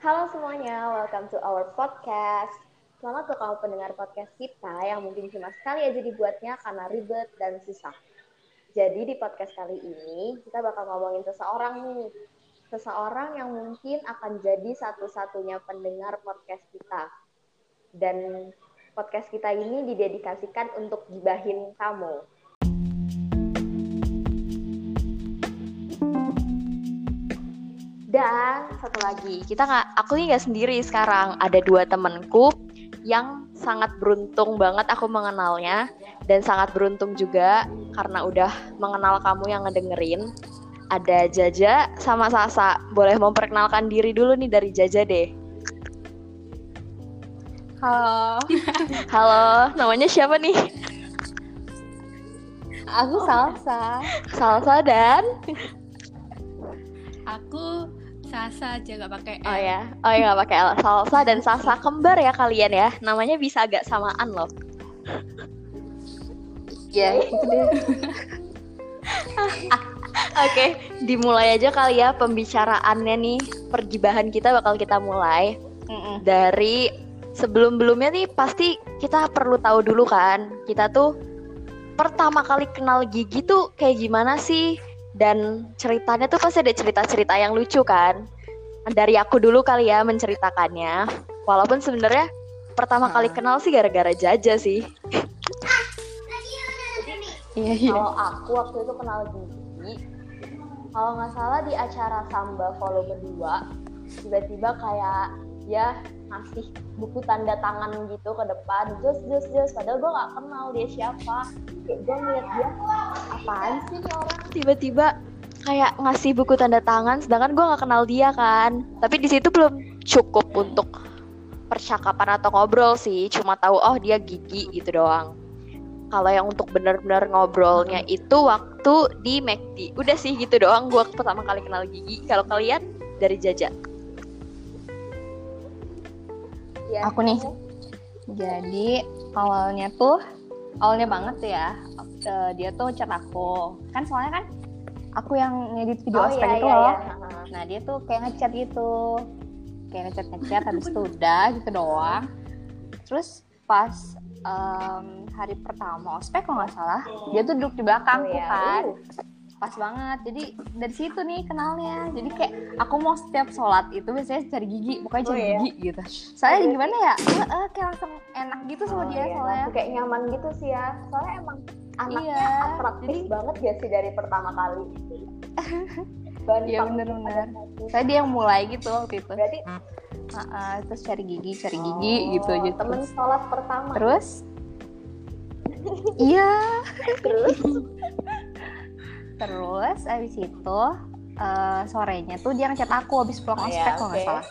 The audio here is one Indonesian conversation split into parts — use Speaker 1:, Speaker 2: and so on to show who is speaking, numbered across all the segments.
Speaker 1: semuanya, welcome to our podcast. Selamat untuk kamu pendengar podcast kita yang mungkin cuma sekali aja dibuatnya karena ribet dan susah. Jadi di podcast kali ini kita bakal ngomongin seseorang nih. Seseorang yang mungkin akan jadi satu-satunya pendengar podcast kita. Dan podcast kita ini didedikasikan untuk gibahin kamu. Dan satu lagi, kita nggak, aku ini nggak sendiri sekarang. Ada dua temanku yang sangat beruntung banget aku mengenalnya dan sangat beruntung juga karena udah mengenal kamu yang ngedengerin. Ada Jaja sama Sasa. Boleh memperkenalkan diri dulu nih dari Jaja deh.
Speaker 2: Halo,
Speaker 1: Halo, namanya siapa nih?
Speaker 2: aku Salsa.
Speaker 1: Salsa dan
Speaker 3: Aku Sasa aja nggak pakai L.
Speaker 1: Oh
Speaker 2: iya.
Speaker 1: ya, oh ya nggak pakai L. Salsa dan Sasa kembar ya kalian ya. Namanya bisa agak samaan loh.
Speaker 2: Ya, gitu deh.
Speaker 1: Oke, dimulai aja kali ya pembicaraannya nih. Pergibahan kita bakal kita mulai Hmm. dari sebelum-belumnya nih pasti kita perlu tahu dulu kan. Kita tuh pertama kali kenal Gigi tuh kayak gimana sih? Dan ceritanya tuh pasti ada cerita-cerita yang lucu kan. Dari aku dulu kali ya menceritakannya. Walaupun sebenarnya pertama kali kenal sih gara-gara Jaja sih.
Speaker 2: Iya, iya.
Speaker 1: Kalau aku waktu itu kenal Gigi, kalau nggak salah di acara Samba volume 2, tiba-tiba kayak ya, dia ngasih buku tanda tangan gitu ke depan, jos jos jos, padahal gue nggak kenal dia siapa. Kayak gue ngeliat dia, apaan sih nih orang? Tiba-tiba kayak ngasih buku tanda tangan, sedangkan gue nggak kenal dia kan. Tapi di situ belum cukup untuk percakapan atau ngobrol sih, cuma tahu oh dia gigi gitu doang kalau yang untuk benar-benar ngobrolnya itu waktu di McD. Udah sih gitu doang gua pertama kali kenal Gigi. Kalau kalian dari Jaja. Iya.
Speaker 2: Aku nih. Jadi awalnya tuh, awalnya banget tuh ya. eh, dia tuh chat aku. Kan soalnya kan aku yang
Speaker 1: Oh,
Speaker 2: ngedit
Speaker 3: Oh,
Speaker 2: video ospek
Speaker 3: iya,
Speaker 1: iya,
Speaker 2: itu loh. Nah dia tuh kayak ngechat gitu Kayak ngechat-ngechat habis itu udah gitu doang Terus pas em, hari pertama ospek kalau nggak salah Dia tuh duduk di belakang
Speaker 1: Oh,
Speaker 2: tuh
Speaker 3: iya.
Speaker 1: ya.
Speaker 2: kan Pas banget, jadi dari situ nih kenalnya Jadi kayak aku mau setiap sholat itu biasanya cari gigi Pokoknya
Speaker 1: Oh,
Speaker 2: cari
Speaker 1: ya.
Speaker 2: gigi gitu Soalnya
Speaker 1: Oh,
Speaker 2: gimana ya, eh, eh, kayak langsung enak gitu sama
Speaker 1: iya,
Speaker 2: dia soalnya
Speaker 1: kayak nyaman gitu sih ya. Soalnya emang anaknya
Speaker 2: Iya,
Speaker 1: atraktif
Speaker 2: jadi-
Speaker 1: banget ya sih dari pertama kali. Bantang.
Speaker 2: Iya, bener-bener.
Speaker 1: ada motif.
Speaker 2: Soalnya dia yang mulai gitu waktu itu
Speaker 1: Berarti
Speaker 2: Ah, ah, Terus cari gigi, cari gigi gitu
Speaker 1: Iya. Oh,
Speaker 2: gitu
Speaker 1: Temen sholat pertama.
Speaker 2: Terus Iya
Speaker 1: Terus
Speaker 2: Terus abis itu eh, sorenya tuh dia ngechat aku abis pulang
Speaker 1: Oh,
Speaker 2: ospek
Speaker 1: ya,
Speaker 2: kalau
Speaker 1: oke.
Speaker 2: nggak
Speaker 1: Oh.
Speaker 2: salah.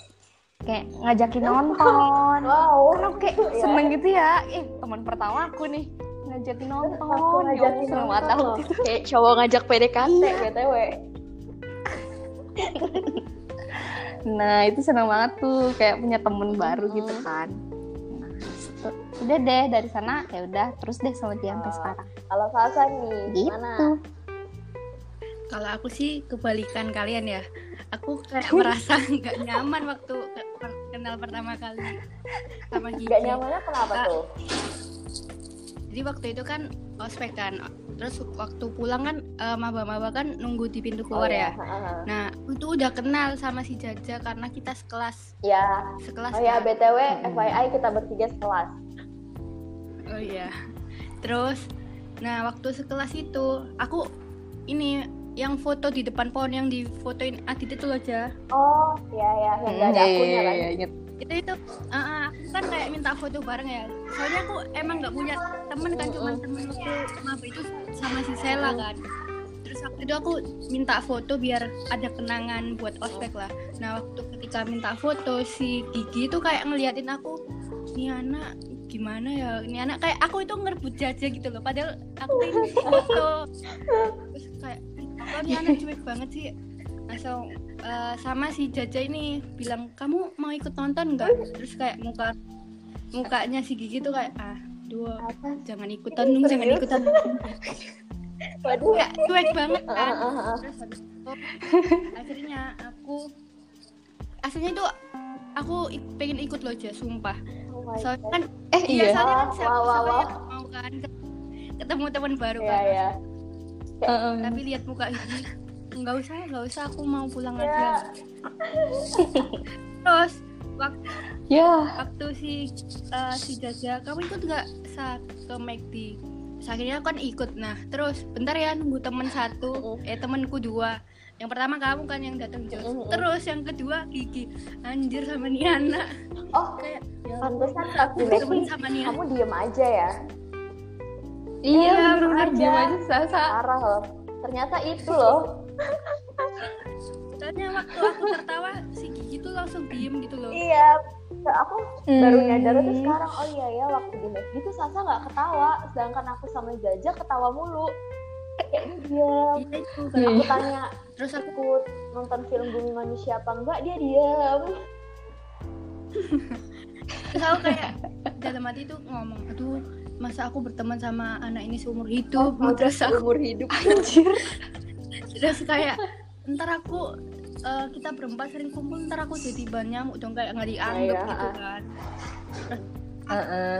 Speaker 2: Kayak ngajakin nonton.
Speaker 1: wow.
Speaker 2: Karena aku kayak
Speaker 1: Iya.
Speaker 2: seneng gitu ya. Ih teman pertama aku nih ngajakin nonton.
Speaker 1: Aku
Speaker 2: Ya Allah,
Speaker 1: ngajakin
Speaker 2: seneng banget aku.
Speaker 1: nonton loh. Iya. Kayak cowok ngajak PDKT BTW.
Speaker 2: Nah itu seneng banget tuh kayak punya temen baru gitu kan. Nah, itu- udah deh dari sana ya udah terus deh sama dia sampai
Speaker 1: Oh,
Speaker 2: sekarang
Speaker 1: Kalau Salsa nih,
Speaker 2: gitu
Speaker 1: gimana?
Speaker 3: Kalau aku sih kebalikan kalian ya. Aku kayak merasa nggak nyaman waktu ke- per- kenal pertama kali sama Gigi.
Speaker 1: Gak nyamannya kenapa
Speaker 3: Ah.
Speaker 1: tuh?
Speaker 3: Jadi waktu itu kan ospek kan. Terus waktu pulang kan eh, maba-maba kan nunggu di pintu
Speaker 1: Oh,
Speaker 3: keluar
Speaker 1: iya.
Speaker 3: ya. Nah, itu udah kenal sama si Jaja karena kita sekelas.
Speaker 1: Ya,
Speaker 3: Sekelas.
Speaker 1: oh ya
Speaker 3: kan.
Speaker 1: BTW
Speaker 2: Mm-mm.
Speaker 1: FYI kita bertiga sekelas.
Speaker 3: Oh iya. Terus nah waktu sekelas itu aku ini yang foto di depan pohon yang difotoin Adit itu loh aja.
Speaker 1: Oh, ya
Speaker 2: iya,
Speaker 1: ya yang
Speaker 2: Hmm,
Speaker 1: gak ada akunnya kan.
Speaker 3: Itu itu ah, ah, aku kan kayak minta foto bareng ya. Soalnya aku emang nggak punya temen kan cuman temen waktu maba itu sama si Sela kan. Terus waktu itu aku minta foto biar ada kenangan buat ospek lah. Nah waktu ketika minta foto si Gigi itu kayak ngeliatin aku, ini anak gimana ya, ini anak kayak aku itu ngerebut jaja gitu loh. Padahal aku pengen foto. Terus kayak, apa nih anak cuek banget sih. Langsung eh, sama si jaja ini bilang kamu mau ikut nonton nggak? Terus kayak muka mukanya si Gigi tuh kayak ah dua
Speaker 1: Apa?
Speaker 3: jangan ikutan dong jangan
Speaker 1: Serius?
Speaker 3: ikutan
Speaker 1: Waduh.
Speaker 3: kayak cuek banget kan
Speaker 1: Ah, ah, ah.
Speaker 3: Terus habis itu, akhirnya aku aslinya itu aku ik- pengen ikut loh Jess, sumpah
Speaker 1: Oh my
Speaker 3: soalnya
Speaker 1: God.
Speaker 3: kan
Speaker 2: Eh iya.
Speaker 3: soalnya kan
Speaker 1: Wah,
Speaker 3: siapa
Speaker 1: wah,
Speaker 3: siapa
Speaker 1: wah.
Speaker 3: yang mau kan ketemu teman baru
Speaker 1: Iya,
Speaker 3: kan
Speaker 1: iya.
Speaker 2: Heeh.
Speaker 3: tapi lihat muka ini nggak usah nggak usah aku mau pulang
Speaker 1: Iya.
Speaker 3: aja terus waktu
Speaker 2: Ya.
Speaker 3: waktu si eh, si Jaja kamu ikut nggak sa ke McD Terus akhirnya aku kan ikut nah terus bentar ya nunggu temen
Speaker 2: Oh.
Speaker 3: satu eh temenku dua yang pertama kamu kan yang datang Jos
Speaker 2: oh.
Speaker 1: Mm-mm.
Speaker 3: terus yang kedua Kiki anjir sama Niana
Speaker 1: Oh,
Speaker 3: kayak ya
Speaker 1: pantesan saat di
Speaker 3: temen
Speaker 1: Messi,
Speaker 3: sama Niana
Speaker 1: kamu diem aja ya.
Speaker 2: Iya,
Speaker 1: Iya,
Speaker 2: bener-bener
Speaker 1: aja.
Speaker 2: diem aja Sasa.
Speaker 3: Ah.
Speaker 1: Parah loh. Ternyata itu loh.
Speaker 3: soalnya waktu aku tertawa si Kiki tuh langsung diem gitu loh
Speaker 1: Iya. Aku baru
Speaker 2: Hmm.
Speaker 1: nyadar tuh sekarang. Oh iya ya, waktu di Messi itu Sasa nggak ketawa, sedangkan aku sama Jaja ketawa mulu. Kayaknya dia.
Speaker 3: Iya, itu kan.
Speaker 2: Iya.
Speaker 1: Aku tanya
Speaker 3: terus aku
Speaker 1: ikut nonton film Bumi Manusia apa enggak, dia diam.
Speaker 3: terus aku kayak dalam hati tuh ngomong aduh masa aku berteman sama anak ini seumur hidup
Speaker 2: Oh,
Speaker 3: terus aku
Speaker 1: umur hidup.
Speaker 2: Anjir.
Speaker 3: terus kayak ntar aku eh, kita berempat sering kumpul ntar aku jadi bahan nyamuk dong kayak nggak dianggap
Speaker 1: Iya,
Speaker 3: gitu
Speaker 1: ah.
Speaker 3: kan
Speaker 2: Heeh.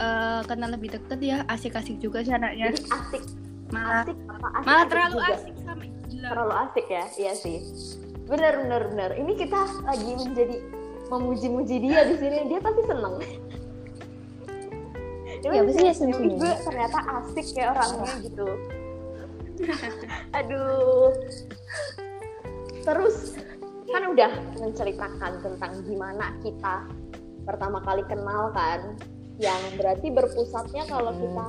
Speaker 3: Eh, kenal lebih deket ya asik-asik juga sih anaknya
Speaker 1: Jadi asik,
Speaker 3: malah
Speaker 1: asik apa asik?
Speaker 3: Ah. malah terlalu
Speaker 1: juga.
Speaker 3: asik sama gila
Speaker 1: terlalu asik ya iya sih bener bener bener ini kita lagi menjadi memuji-muji dia di sini dia tapi seneng
Speaker 2: Ya, pasti dia seneng.
Speaker 1: gue ternyata asik ya orangnya gitu aduh terus kan udah menceritakan tentang gimana kita pertama kali kenal kan yang berarti berpusatnya kalau
Speaker 2: Hmm.
Speaker 1: kita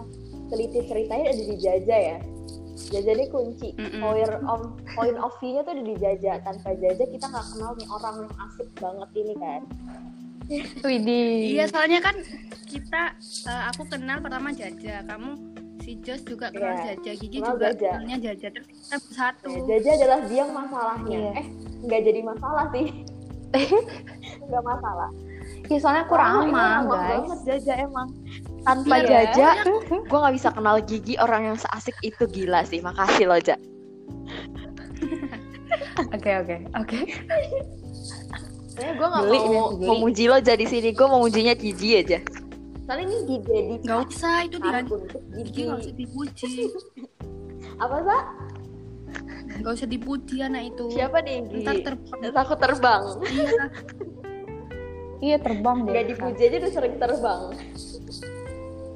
Speaker 1: teliti ceritanya ada di jaja ya jaja ini kunci
Speaker 3: Mm-mm.
Speaker 1: point of point of view-nya tuh ada di jaja tanpa jaja kita nggak kenal nih orang yang asik banget ini kan
Speaker 2: Widih.
Speaker 3: Iya, soalnya kan kita eh, aku kenal pertama Jaja, kamu si Jos juga kenal
Speaker 1: Iya,
Speaker 3: Jaja, Gigi
Speaker 1: kenal
Speaker 3: juga
Speaker 1: Jaja.
Speaker 3: kenalnya Jaja. Terus kita bersatu.
Speaker 1: Nah, jaja adalah dia yang masalahnya
Speaker 2: Iya.
Speaker 1: eh nggak jadi masalah sih nggak masalah
Speaker 2: Ya, soalnya aku ramah,
Speaker 1: Ramah
Speaker 2: guys.
Speaker 1: iya, banget jaja emang tanpa
Speaker 3: Iya.
Speaker 1: jaja gue nggak bisa kenal gigi orang yang seasik itu gila sih makasih loh ja
Speaker 2: Oke, oke. Oke.
Speaker 1: Sebenernya gue nggak
Speaker 2: Geli
Speaker 1: mau
Speaker 2: nih, geli.
Speaker 1: memuji lo jadi sini gue memujinya Gigi aja soalnya ini dijadikan
Speaker 3: Gak usah itu dia.
Speaker 1: untuk
Speaker 3: kan? Gigi
Speaker 1: Gigi
Speaker 3: gak usah dipuji.
Speaker 1: apa sih
Speaker 3: Gak usah dipuji anak itu.
Speaker 1: siapa nih Gigi
Speaker 3: Ntar terbang.
Speaker 1: takut terbang
Speaker 3: Iya.
Speaker 2: Iya, terbang deh.
Speaker 1: nggak dipuji aja udah sering terbang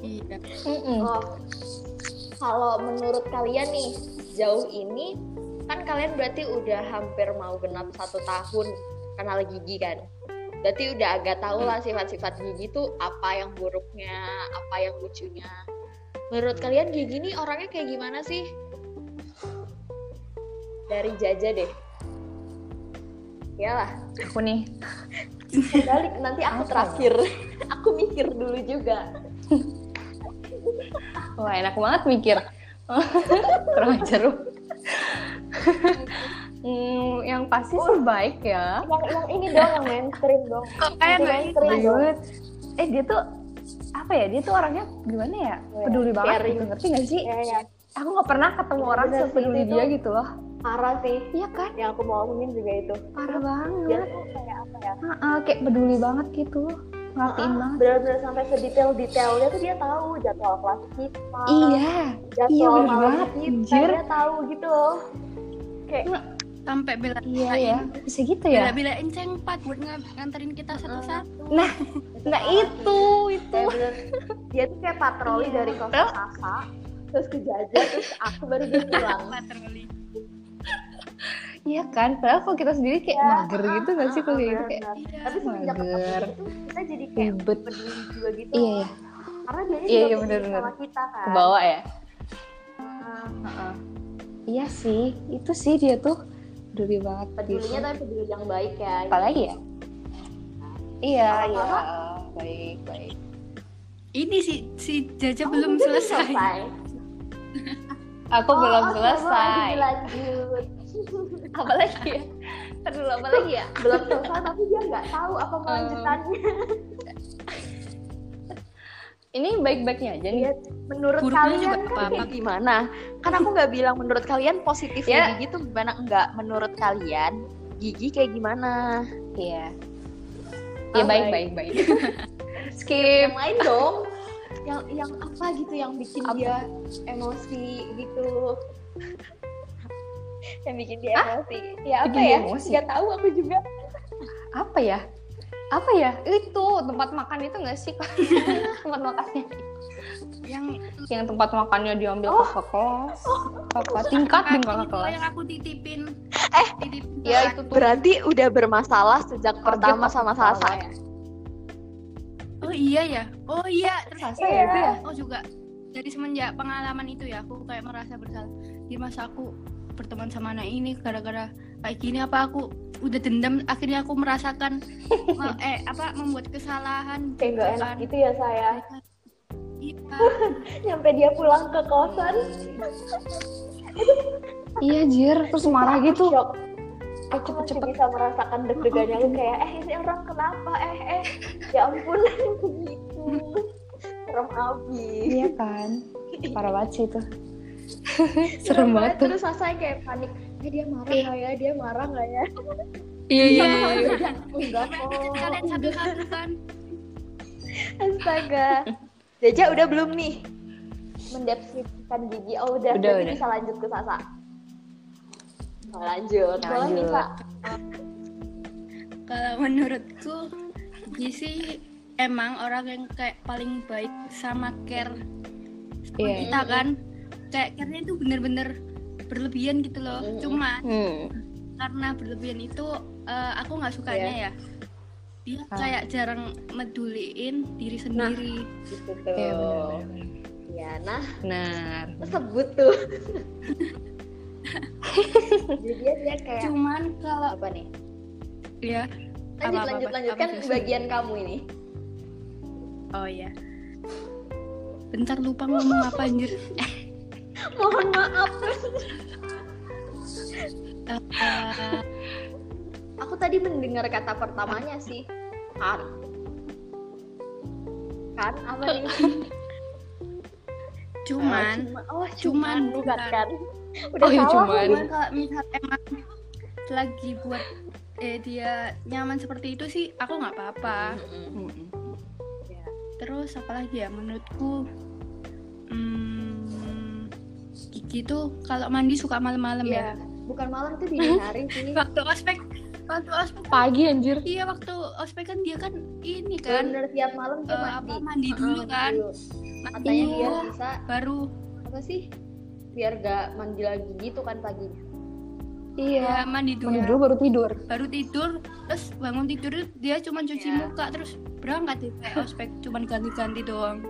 Speaker 3: Iya.
Speaker 2: Mm-mm.
Speaker 1: oh kalau menurut kalian nih jauh ini kan kalian berarti udah hampir mau genap satu tahun kenal Gigi kan berarti udah agak tahu lah sifat-sifat Gigi tuh apa yang buruknya apa yang lucunya menurut kalian Gigi nih orangnya kayak gimana sih dari Jaja deh iyalah
Speaker 2: Aku nih.
Speaker 1: balik nanti aku
Speaker 2: Apa ya?
Speaker 1: terakhir aku mikir dulu juga
Speaker 2: Wah, enak banget mikir. Kurang ajar lu. Hmm, yang pasti sih baik ya.
Speaker 1: yang yang ini dong yang mainstream dong
Speaker 3: Kok kayak gitu?
Speaker 1: Nanti
Speaker 3: gak
Speaker 1: mainstream
Speaker 2: Baik
Speaker 1: dong.
Speaker 2: banget. Eh, dia tuh apa ya? Dia tuh orangnya gimana ya? Peduli banget
Speaker 1: Oh, iya. Caring.
Speaker 2: gitu, ngerti gak sih?
Speaker 1: Iya, iya.
Speaker 2: Aku gak pernah ketemu orang
Speaker 1: Bener sih,
Speaker 2: sepeduli
Speaker 1: itu.
Speaker 2: dia gitu loh.
Speaker 1: parah sih
Speaker 2: Iya kan?
Speaker 1: yang aku mau omongin juga itu
Speaker 2: Parah
Speaker 1: dia
Speaker 2: banget.
Speaker 1: tuh kayak apa ya
Speaker 2: Heeh, kayak peduli banget gitu. Ngertiin
Speaker 1: Ah,
Speaker 2: banget.
Speaker 1: benar-benar sampai sedetail detailnya tuh dia tahu jadwal kelas kita
Speaker 2: Iya.
Speaker 1: jadwal
Speaker 2: iya, bener
Speaker 1: malam
Speaker 2: banget,
Speaker 1: kita
Speaker 2: anjir. Nah,
Speaker 1: dia tahu gitu loh kayak
Speaker 3: sampai bela
Speaker 2: Iya
Speaker 1: Nah,
Speaker 2: ya. Bisa gitu
Speaker 3: bela
Speaker 2: ya?
Speaker 3: belain cengpat buat ng- nganterin kita satu-satu.
Speaker 2: Nah, nah itu, itu.
Speaker 1: kayak bener dia tuh kayak patroli
Speaker 3: Iya.
Speaker 1: dari kos kakak terus ke jaja terus aku baru dia pulang
Speaker 3: Patroli.
Speaker 2: Iya kan? Padahal kalau kita sendiri kayak
Speaker 1: Iya,
Speaker 2: mager gitu gak sih kalau kayak gitu kayak
Speaker 1: Benar-benar.
Speaker 3: Iya.
Speaker 1: tapi semenjak ketemu
Speaker 2: Mager.
Speaker 1: dia tuh, kita jadi kayak
Speaker 2: ribet.
Speaker 1: peduli juga gitu
Speaker 2: Iya ya,
Speaker 1: karena dia
Speaker 2: Iya,
Speaker 1: juga
Speaker 2: iya,
Speaker 1: peduli
Speaker 2: benar-benar.
Speaker 1: sama kita kan
Speaker 2: ke bawah ya.
Speaker 1: Nah,
Speaker 2: Iya sih, itu sih dia tuh peduli banget
Speaker 1: pedulinya
Speaker 2: gitu.
Speaker 1: tapi peduli yang baik ya
Speaker 2: Apalagi ya? Iya,
Speaker 1: Apa-apa?
Speaker 2: iya. Baik, baik.
Speaker 3: Ini si si Jaja
Speaker 1: Oh, mungkin
Speaker 3: belum selesai.
Speaker 2: Aku
Speaker 1: Oh,
Speaker 2: belum
Speaker 1: oh, coba
Speaker 2: selesai.
Speaker 1: lagi lanjut.
Speaker 2: Apalagi ya? Ntar dulu, apalagi ya?
Speaker 1: belum selesai tapi dia nggak tahu apa kelanjutannya
Speaker 2: Ini baik-baiknya aja nih.
Speaker 1: Iya. menurut
Speaker 3: Buruknya
Speaker 1: kalian
Speaker 3: juga
Speaker 1: kan
Speaker 3: apa-apa.
Speaker 1: kayak gimana kan aku nggak bilang menurut kalian positifnya
Speaker 2: Ya.
Speaker 1: gigi tuh gimana enggak menurut kalian gigi kayak gimana
Speaker 2: Iya. ya baik baik baik. Skip.
Speaker 1: yang lain dong yang yang apa gitu yang bikin
Speaker 2: Apa?
Speaker 1: dia emosi gitu yang bikin dia emosi ya apa
Speaker 2: Bikin dia
Speaker 1: ya
Speaker 2: emosi?
Speaker 1: nggak tahu aku juga
Speaker 2: Apa ya? Apa ya? Itu tempat makan itu nggak sih? tempat makannya.
Speaker 3: yang
Speaker 2: Yang tempat makannya diambil
Speaker 1: Oh.
Speaker 2: kakak kelas. Kakak tingkat dan kakak
Speaker 3: itu
Speaker 2: kelas.
Speaker 3: yang aku titipin
Speaker 1: Eh,
Speaker 3: titipin
Speaker 2: Ya
Speaker 3: ke-
Speaker 2: itu tuh.
Speaker 1: berarti udah bermasalah sejak
Speaker 2: Target
Speaker 1: pertama sama
Speaker 2: pertama
Speaker 1: Sasa
Speaker 2: ya.
Speaker 3: oh iya ya oh iya terus
Speaker 2: Sasa ya itu ya?
Speaker 3: oh juga dari semenjak pengalaman itu ya aku kayak merasa bersalah di masa aku berteman sama anak ini gara-gara kayak gini apa aku udah dendam akhirnya aku merasakan me- eh apa membuat kesalahan
Speaker 1: kayak nggak enak gitu ya saya
Speaker 3: Iya.
Speaker 1: nyampe dia pulang ke kosan
Speaker 2: Iya jir, terus marah
Speaker 1: aku
Speaker 2: gitu.
Speaker 1: shock.
Speaker 2: Eh
Speaker 1: aku masih
Speaker 2: cepet-cepet.
Speaker 1: bisa merasakan deg-degannya lu kayak eh ini orang kenapa eh eh ya ampun gitu serem abis
Speaker 2: Iya kan. Parah banget sih itu. Serem banget tuh.
Speaker 1: Iya, terus saya kayak panik eh dia marah nggak ya dia marah nggak ya
Speaker 2: Iya iya.
Speaker 1: enggak
Speaker 3: Kan
Speaker 1: kok
Speaker 3: kalian satu-satu kan
Speaker 1: astaga Jaja
Speaker 3: Iya.
Speaker 1: udah belum nih mendeskripsikan gigi oh udah,
Speaker 2: Udah,
Speaker 1: berarti
Speaker 2: udah.
Speaker 1: bisa lanjut ke Sasa Mau lanjut
Speaker 3: Nah,
Speaker 1: boleh nih
Speaker 2: Lanjut.
Speaker 1: Sa.
Speaker 3: kalau menurutku Gisi emang orang yang kayak paling baik sama care sama
Speaker 2: Iya.
Speaker 3: kita kan kayak care-nya itu bener-bener berlebihan gitu loh
Speaker 1: Mm-mm.
Speaker 3: cuman
Speaker 2: Hmm.
Speaker 3: karena berlebihan itu eh, aku nggak sukanya ya dia
Speaker 2: Iya. Ah. Nah,
Speaker 3: kayak jarang meduliin diri sendiri
Speaker 1: gitu tuh
Speaker 2: Iya benar.
Speaker 1: ya nah
Speaker 2: Benar.
Speaker 1: tersebut tuh jadi dia, dia
Speaker 2: iya.
Speaker 1: kayak
Speaker 3: cuman kalau
Speaker 1: apa nih
Speaker 3: ya
Speaker 1: lanjut
Speaker 3: Apa, apa,
Speaker 1: lanjut
Speaker 3: apa?
Speaker 1: lanjutkan
Speaker 3: Apa tuh?
Speaker 1: bagian kamu ini
Speaker 3: oh
Speaker 2: iya.
Speaker 3: ya bentar lupa ngomong apa anjir
Speaker 1: mohon maaf
Speaker 3: Eh, eh,
Speaker 1: aku tadi mendengar kata pertamanya sih kan kan apa nih
Speaker 3: cuman
Speaker 2: Ah,
Speaker 1: oh
Speaker 3: cuman,
Speaker 1: cuman bukan
Speaker 3: bukan.
Speaker 1: kan udah
Speaker 2: Oh, iya,
Speaker 1: salah aku.
Speaker 2: cuman.
Speaker 1: kan?
Speaker 3: Cuman kalau misal emang lagi buat eh, dia nyaman seperti itu sih aku nggak apa-apa
Speaker 2: Mm-mm.
Speaker 3: terus apalagi ya menurutku hmm, Kiki tuh kalau mandi suka malam-malam
Speaker 1: Iya. bukan malam tuh dini hari sih
Speaker 3: ya waktu ospek waktu ospek
Speaker 2: Pagi anjir.
Speaker 3: iya waktu ospek kan dia kan ini kan
Speaker 1: bener tiap malam tuh
Speaker 3: eh,
Speaker 1: mandi
Speaker 3: apa mandi dulu
Speaker 1: Heeh,
Speaker 3: kan Iya.
Speaker 1: dulu.
Speaker 3: mandi
Speaker 1: katanya
Speaker 3: dulu,
Speaker 1: biar bisa
Speaker 3: baru
Speaker 1: apa sih biar gak mandi lagi gitu kan paginya
Speaker 3: ya,
Speaker 2: Iya.
Speaker 3: mandi dulu
Speaker 2: Mandi dulu baru tidur.
Speaker 3: baru tidur terus bangun tidur dia cuma cuci
Speaker 1: Iya.
Speaker 3: muka terus berangkat deh kayak ospek cuman ganti-ganti doang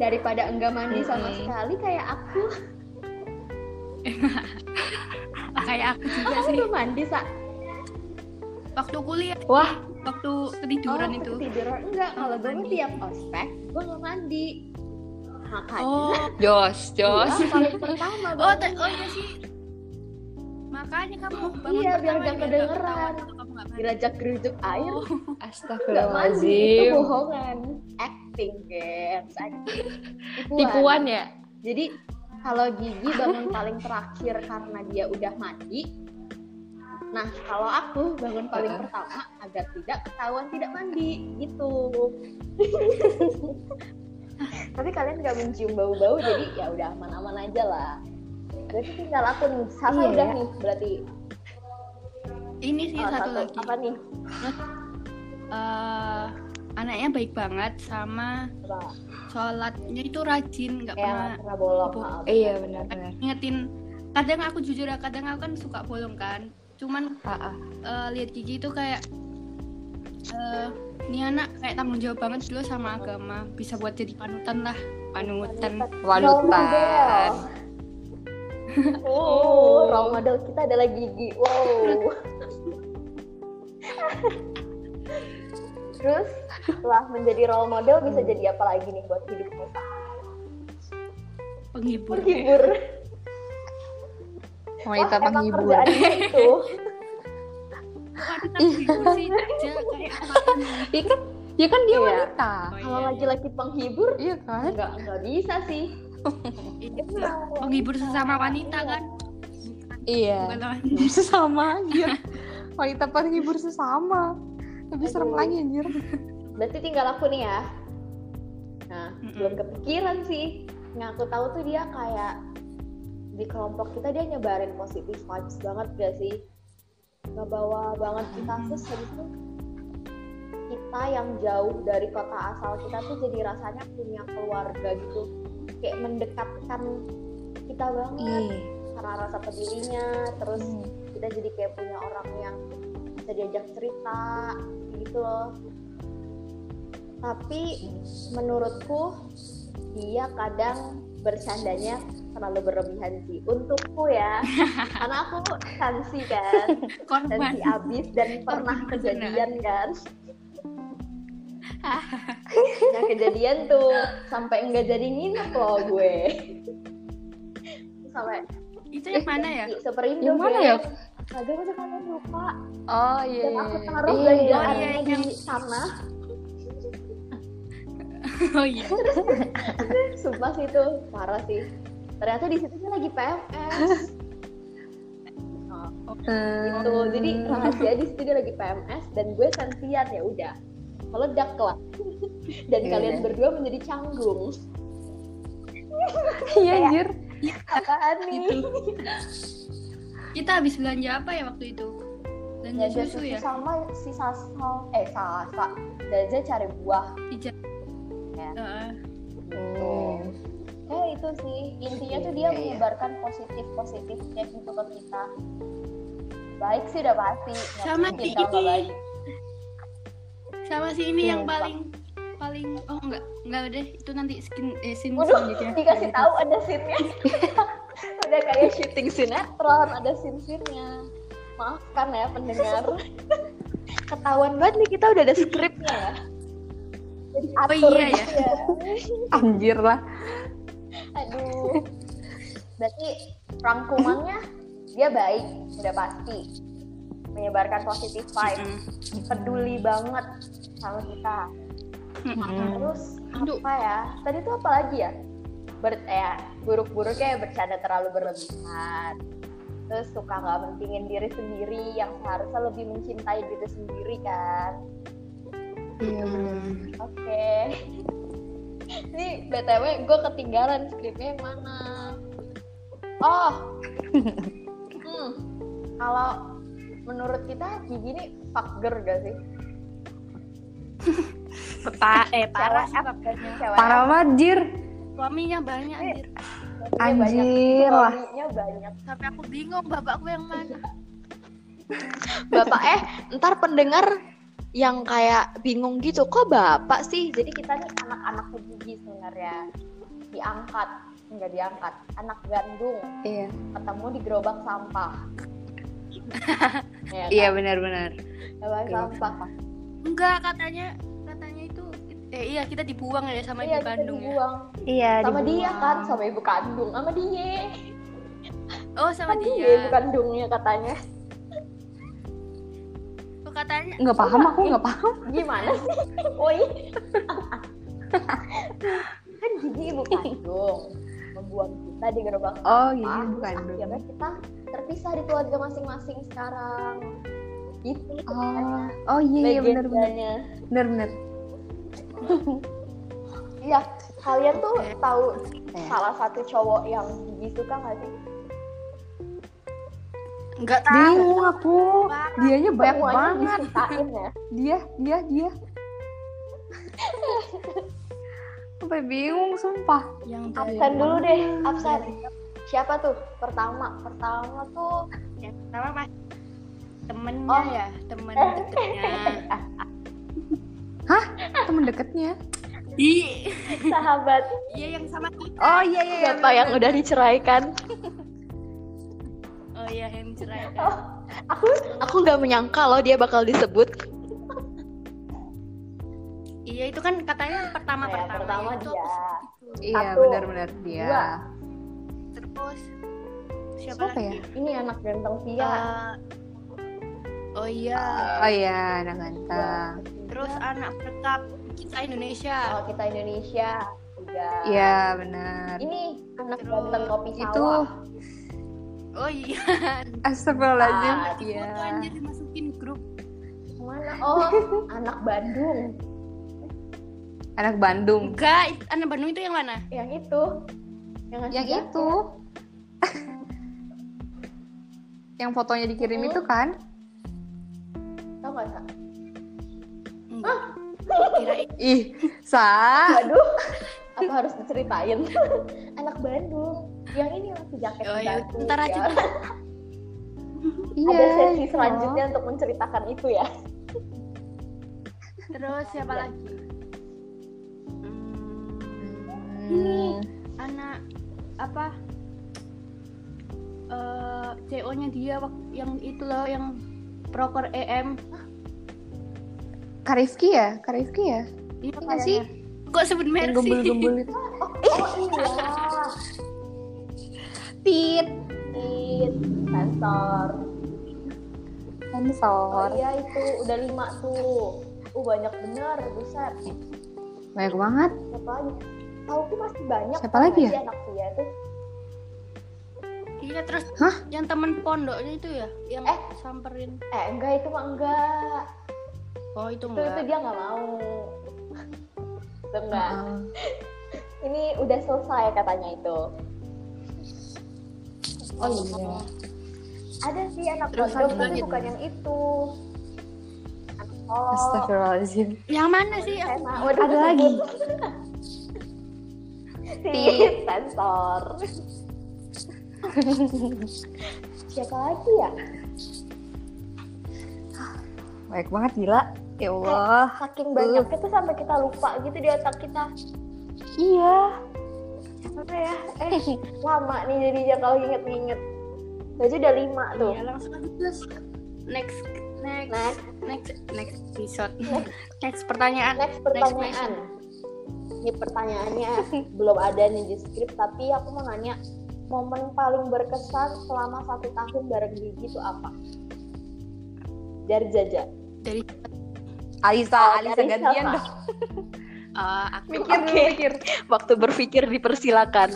Speaker 1: daripada enggak mandi sama
Speaker 2: Mm-mm.
Speaker 1: sekali kayak aku
Speaker 3: Ah, kayak aku juga
Speaker 1: aku
Speaker 3: sih
Speaker 1: tuh Oh, mandi sa
Speaker 3: waktu kuliah
Speaker 2: Wah,
Speaker 3: waktu ketiduran
Speaker 1: oh,
Speaker 3: itu
Speaker 1: ketiduran enggak kalau gue mah
Speaker 3: mandi.
Speaker 1: tiap ospek gue nggak mandi makanya
Speaker 3: oh
Speaker 2: Jos,
Speaker 1: gua
Speaker 2: Jos.
Speaker 1: paling pertama
Speaker 3: oh
Speaker 1: banget.
Speaker 3: te- oh iya sih makanya kamu bangun
Speaker 1: Iya, biar
Speaker 3: pertama
Speaker 1: nggak
Speaker 3: nggak
Speaker 1: kedengeran.
Speaker 3: ketahuan kalau kamu nggak mandi.
Speaker 1: dirajak gerujak air
Speaker 3: Oh,
Speaker 1: nggak mandi itu
Speaker 2: Astagfirullahaladzim.
Speaker 1: bohongan acting guys acting
Speaker 2: Tipuan ya?
Speaker 1: jadi kalau gigi bangun paling terakhir karena dia udah mandi nah kalau aku bangun paling
Speaker 2: Heeh.
Speaker 1: pertama agar tidak ketahuan tidak mandi gitu tapi kalian nggak mencium bau-bau jadi ya udah aman-aman aja lah berarti tinggal aku nih Sasa
Speaker 2: Iya.
Speaker 1: udah nih berarti
Speaker 3: ini sih
Speaker 1: Oh,
Speaker 3: Iya, satu, lagi
Speaker 1: apa nih
Speaker 3: Eh, anaknya baik banget sama
Speaker 1: Coba.
Speaker 3: sholatnya itu rajin nggak pernah
Speaker 1: ya pernah bolong maaf.
Speaker 2: Iya benar-benar.
Speaker 3: ngingetin kadang aku jujur ya kadang aku kan suka bolong kan cuman
Speaker 2: Ah, ah.
Speaker 3: eh, lihat gigi itu kayak eh ini anak kayak tanggung jawab banget dulu sama agama bisa buat jadi panutan lah panutan
Speaker 1: Role model.
Speaker 2: Walutan.
Speaker 1: Oh, role model kita adalah gigi. Wow. Terus setelah menjadi role model bisa jadi apa lagi nih buat hidup kita?
Speaker 3: penghibur
Speaker 1: Penghibur.
Speaker 2: Wanita
Speaker 1: Wah, emang
Speaker 2: penghibur.
Speaker 1: kerjaan dia itu.
Speaker 3: panutan penghibur sih aja kayak
Speaker 2: Iya kan? Ya kan dia
Speaker 1: Iya.
Speaker 2: wanita.
Speaker 3: Oh,
Speaker 1: Kalau
Speaker 3: iya,
Speaker 1: laki-laki penghibur
Speaker 2: Iya kan?
Speaker 1: enggak enggak bisa sih.
Speaker 3: iya. Iya. penghibur sesama wanita kan
Speaker 2: Iya.
Speaker 3: bukan lawan
Speaker 2: Sesama aja. Wanita penghibur sesama.
Speaker 4: Lebih serem lagi anjir.
Speaker 1: Berarti tinggal aku nih ya. Nah, belum
Speaker 3: Hmm.
Speaker 1: kepikiran sih. Yang aku tahu tuh dia kayak di kelompok kita dia nyebarin positif vibes banget gak sih? Ngebawa banget kita terus habis itu kita yang jauh dari kota asal kita tuh jadi rasanya punya keluarga gitu. Kayak mendekatkan kita banget
Speaker 2: Ih,
Speaker 1: karena rasa pedulinya, terus
Speaker 2: Iya. Hmm.
Speaker 1: kita jadi kayak punya orang yang bisa diajak cerita gitu loh. Tapi menurutku dia kadang bercandanya terlalu berlebihan sih untukku ya karena aku sensi kan
Speaker 3: korban
Speaker 1: sensi abis dan pernah
Speaker 3: Korban.
Speaker 1: kejadian kan nah kejadian tuh sampai nggak jadi nginep loh gue sampai
Speaker 3: itu yang mana ya
Speaker 1: di Superindo
Speaker 2: Yang mana
Speaker 1: Beb.
Speaker 2: ya?
Speaker 1: Kagak udah kalian lupa
Speaker 4: Oh iya.
Speaker 1: dan aku taruh
Speaker 2: Iya.
Speaker 1: belanjaannya
Speaker 3: Oh, iya,
Speaker 1: di sana
Speaker 3: oh iya
Speaker 1: sumpah sih itu parah sih ternyata di situ dia lagi PMS Oh, gitu jadi
Speaker 2: Hmm.
Speaker 1: rahasia di situ dia lagi PMS dan gue sensian ya udah meledak lah dan
Speaker 2: Iya.
Speaker 1: kalian berdua menjadi canggung
Speaker 4: Iya anjir.
Speaker 1: apaan
Speaker 3: Gitu.
Speaker 1: nih
Speaker 3: kita habis belanja apa ya waktu itu belanja
Speaker 1: Jaja
Speaker 3: susu ya
Speaker 1: sama si Sasa eh Sasa Jaja cari buah gitu.
Speaker 3: Ijab.
Speaker 1: Ya.
Speaker 3: Heeh.
Speaker 1: gitu
Speaker 2: Hmm.
Speaker 1: eh itu sih intinya tuh dia
Speaker 2: Iya, iya.
Speaker 1: menyebarkan positif positifnya gitu ke kita baik sih udah pasti Nggak
Speaker 3: Sama
Speaker 1: mungkin
Speaker 3: kayak
Speaker 1: kalau nggak
Speaker 3: ini.
Speaker 1: baik
Speaker 3: sama si ini
Speaker 2: Iya,
Speaker 3: yang
Speaker 2: Pak.
Speaker 3: paling paling oh enggak enggak deh itu nanti skin eh, scene
Speaker 1: Waduh,
Speaker 3: selanjutnya.
Speaker 1: dikasih tahu ada scene-nya. Udah kayak syuting sinetron, ada scene-scene-nya. Maafkan ya pendengar. Ketahuan banget nih kita udah ada skripnya ya. Jadi
Speaker 3: Oh
Speaker 1: atur
Speaker 3: iya
Speaker 1: gitu ya.
Speaker 4: Anjir lah.
Speaker 1: Aduh. Berarti rangkumannya dia baik, udah pasti. Menyebarkan positif vibes,
Speaker 3: Mm.
Speaker 1: peduli banget sama kita.
Speaker 2: Mm-mm.
Speaker 1: Terus
Speaker 3: Hmm. Aduh.
Speaker 1: apa ya? Tadi tuh apa lagi ya? Ber ya buruk-buruknya ya bercanda terlalu berlebihan. Terus suka nggak pentingin diri sendiri yang seharusnya lebih mencintai diri sendiri kan.
Speaker 4: Iya benar.
Speaker 1: Oke. Ini btw gue ketinggalan skripnya yang mana? Oh. hmm. Kalau menurut kita Gigi ini fuck girl gak sih?
Speaker 2: Pa- eh,
Speaker 3: parah
Speaker 1: Cewek
Speaker 3: sih
Speaker 1: apa? Cewek
Speaker 4: Parah banget anjir.
Speaker 3: suaminya banyak
Speaker 1: Eh.
Speaker 3: anjir
Speaker 4: Iya, Anjir
Speaker 1: apa? Dia banyak.
Speaker 4: lah.
Speaker 1: Suaminya banyak
Speaker 3: sampai aku bingung bapakku yang mana
Speaker 1: Bapak eh ntar pendengar yang kayak bingung gitu kok bapak sih jadi kita nih anak-anak gigi sebenarnya diangkat nggak diangkat anak gandung
Speaker 4: Iya.
Speaker 1: ketemu di gerobak sampah Iya kan?
Speaker 2: Iya benar-benar.
Speaker 1: gerobak
Speaker 2: gerobak
Speaker 1: sampah
Speaker 3: enggak katanya katanya itu eh iya kita dibuang ya sama
Speaker 1: iya
Speaker 3: di
Speaker 1: kita
Speaker 3: Bandung ya
Speaker 1: dibuang
Speaker 2: Iya.
Speaker 1: sama dia
Speaker 2: dibuang.
Speaker 1: kan sama ibu kandung sama dia
Speaker 3: oh sama
Speaker 1: kan dia ibu
Speaker 3: dia
Speaker 1: kandungnya katanya
Speaker 3: tuh Oh, katanya
Speaker 4: Nggak paham aku nggak paham.
Speaker 1: gimana sih
Speaker 4: Oh
Speaker 1: woi
Speaker 4: iya.
Speaker 1: kan gigi ibu kandung membuang kita di gerobak
Speaker 4: Oh
Speaker 1: Ah,
Speaker 4: iya bukan dong.
Speaker 1: akhirnya kita terpisah di keluarga masing-masing sekarang gitu
Speaker 4: Oh, oh iya iya benar benar
Speaker 1: legendanya
Speaker 4: benar benar.
Speaker 1: iya kalian tuh
Speaker 3: Oke.
Speaker 1: tahu
Speaker 4: Iya.
Speaker 1: salah satu cowok yang gigi suka nggak sih
Speaker 3: enggak tahu
Speaker 4: Bingung aku. Dianya banyak
Speaker 1: Semuanya
Speaker 4: banget. Iya.
Speaker 1: disukain ya
Speaker 4: Dia dia dia. Sampai bingung sumpah.
Speaker 3: yang
Speaker 1: absen dulu deh
Speaker 4: Iya.
Speaker 1: absen siapa tuh pertama pertama tuh
Speaker 3: yang pertama ya, mas temennya
Speaker 1: Oh.
Speaker 3: ya temen deketnya
Speaker 4: Temen deketnya.
Speaker 3: Ih,
Speaker 1: sahabat
Speaker 3: iya yang sama kita
Speaker 4: Oh iya iya. iya,
Speaker 1: siapa yang udah diceraikan
Speaker 3: oh iya yang cerai
Speaker 1: aku aku nggak menyangka loh dia bakal disebut
Speaker 3: iya itu kan katanya pertama
Speaker 1: Ya,
Speaker 3: pertama,
Speaker 1: pertama
Speaker 3: itu
Speaker 1: dia
Speaker 4: Iya
Speaker 1: Satu,
Speaker 4: benar benar dia.
Speaker 1: dua.
Speaker 3: terus siapa,
Speaker 4: Siapa ya?
Speaker 3: lagi
Speaker 1: ini anak ganteng
Speaker 3: ya
Speaker 1: Tia
Speaker 3: oh iya
Speaker 4: Oh iya, anak
Speaker 3: Ah.
Speaker 4: ganteng.
Speaker 3: terus anak berkap kita Indonesia
Speaker 1: kalau kita Indonesia juga
Speaker 4: Iya benar.
Speaker 1: ini anak
Speaker 3: Terus
Speaker 1: ganteng kopi
Speaker 4: Itu
Speaker 1: sawah
Speaker 3: oh iya
Speaker 4: astagfirullahaladzim.
Speaker 1: Ah,
Speaker 4: Iya.
Speaker 3: foto anjir dimasukin grup
Speaker 1: Hmm, mana oh anak Bandung
Speaker 4: Anak Bandung.
Speaker 3: Enggak, it- anak Bandung itu yang mana?
Speaker 1: yang itu yang ngasih
Speaker 4: Yang
Speaker 1: jaket.
Speaker 4: itu. yang fotonya dikirim
Speaker 1: Mm.
Speaker 4: itu kan?
Speaker 1: tau gak Sa?
Speaker 3: Kirain
Speaker 4: Ih, sa.
Speaker 1: aduh apa harus diceritain anak Bandung yang ini yang ngasih jaket
Speaker 3: Oh,
Speaker 1: ke
Speaker 3: ya,
Speaker 1: Batu,
Speaker 3: ntar aja. Iya.
Speaker 1: ya. ada
Speaker 4: Iya.
Speaker 1: sesi selanjutnya
Speaker 3: Oh.
Speaker 1: untuk menceritakan itu ya
Speaker 3: terus siapa lagi?
Speaker 4: Hmm.
Speaker 3: Anak apa? Eh, CO-nya dia wak- yang itu loh yang proker E EM.
Speaker 4: Karifki ya? Karifki ya?
Speaker 3: Iya
Speaker 4: Iya
Speaker 3: kayaknya.
Speaker 4: sih?
Speaker 3: Kok sebut
Speaker 4: Yang
Speaker 3: merek sih?
Speaker 4: gembul-gembul itu.
Speaker 1: oh iya
Speaker 4: Tit.
Speaker 1: Tit, sensor oh
Speaker 4: Sensor.
Speaker 1: iya itu udah lima tuh uh banyak bener buset
Speaker 4: Banyak banget.
Speaker 1: siapa lagi tahu aku masih banyak
Speaker 4: Siapa
Speaker 1: tau
Speaker 4: lagi
Speaker 1: gak
Speaker 4: ya?
Speaker 1: sih anak dia tuh
Speaker 3: Iya terus
Speaker 4: Hah?
Speaker 3: yang temen pondoknya itu ya yang
Speaker 1: Eh.
Speaker 3: samperin.
Speaker 1: eh enggak itu mah enggak
Speaker 3: Oh itu
Speaker 1: itu, itu
Speaker 3: enggak.
Speaker 1: dia nggak mau itu enggak
Speaker 4: Heeh.
Speaker 1: ini udah selesai katanya itu
Speaker 4: Oh iya.
Speaker 1: ada sih anak
Speaker 3: Terus
Speaker 1: pondok
Speaker 3: ada
Speaker 1: tapi
Speaker 3: lagi.
Speaker 1: bukan yang itu anak kolok
Speaker 4: Astagfirullahaladzim.
Speaker 3: Yang mana sih? Aku-
Speaker 1: SMA Iya, Waduh,
Speaker 4: Ada lagi.
Speaker 1: Tit sensor siapa lagi ya
Speaker 4: Baik banget gila. Ya Allah.
Speaker 1: saking banyaknya tuh sampai kita lupa gitu di otak kita
Speaker 4: Iya.
Speaker 1: apa ya eh lama nih jadinya kalau inget-inget Berarti udah lima tuh
Speaker 3: Iya langsung aja terus next next
Speaker 1: Next.
Speaker 3: next next episode next pertanyaan
Speaker 1: next pertanyaan ini pertanyaannya belum ada nih di skrip tapi aku mau nanya momen paling berkesan selama satu tahun bareng Gigi itu apa dari Jaja
Speaker 3: dari
Speaker 4: Alisa, Alisa
Speaker 1: Dari
Speaker 4: gantian
Speaker 1: siapa?
Speaker 4: dong.
Speaker 3: eh, aku
Speaker 4: Mikir
Speaker 1: Hmm.
Speaker 4: dulu, mikir.
Speaker 1: waktu berpikir dipersilakan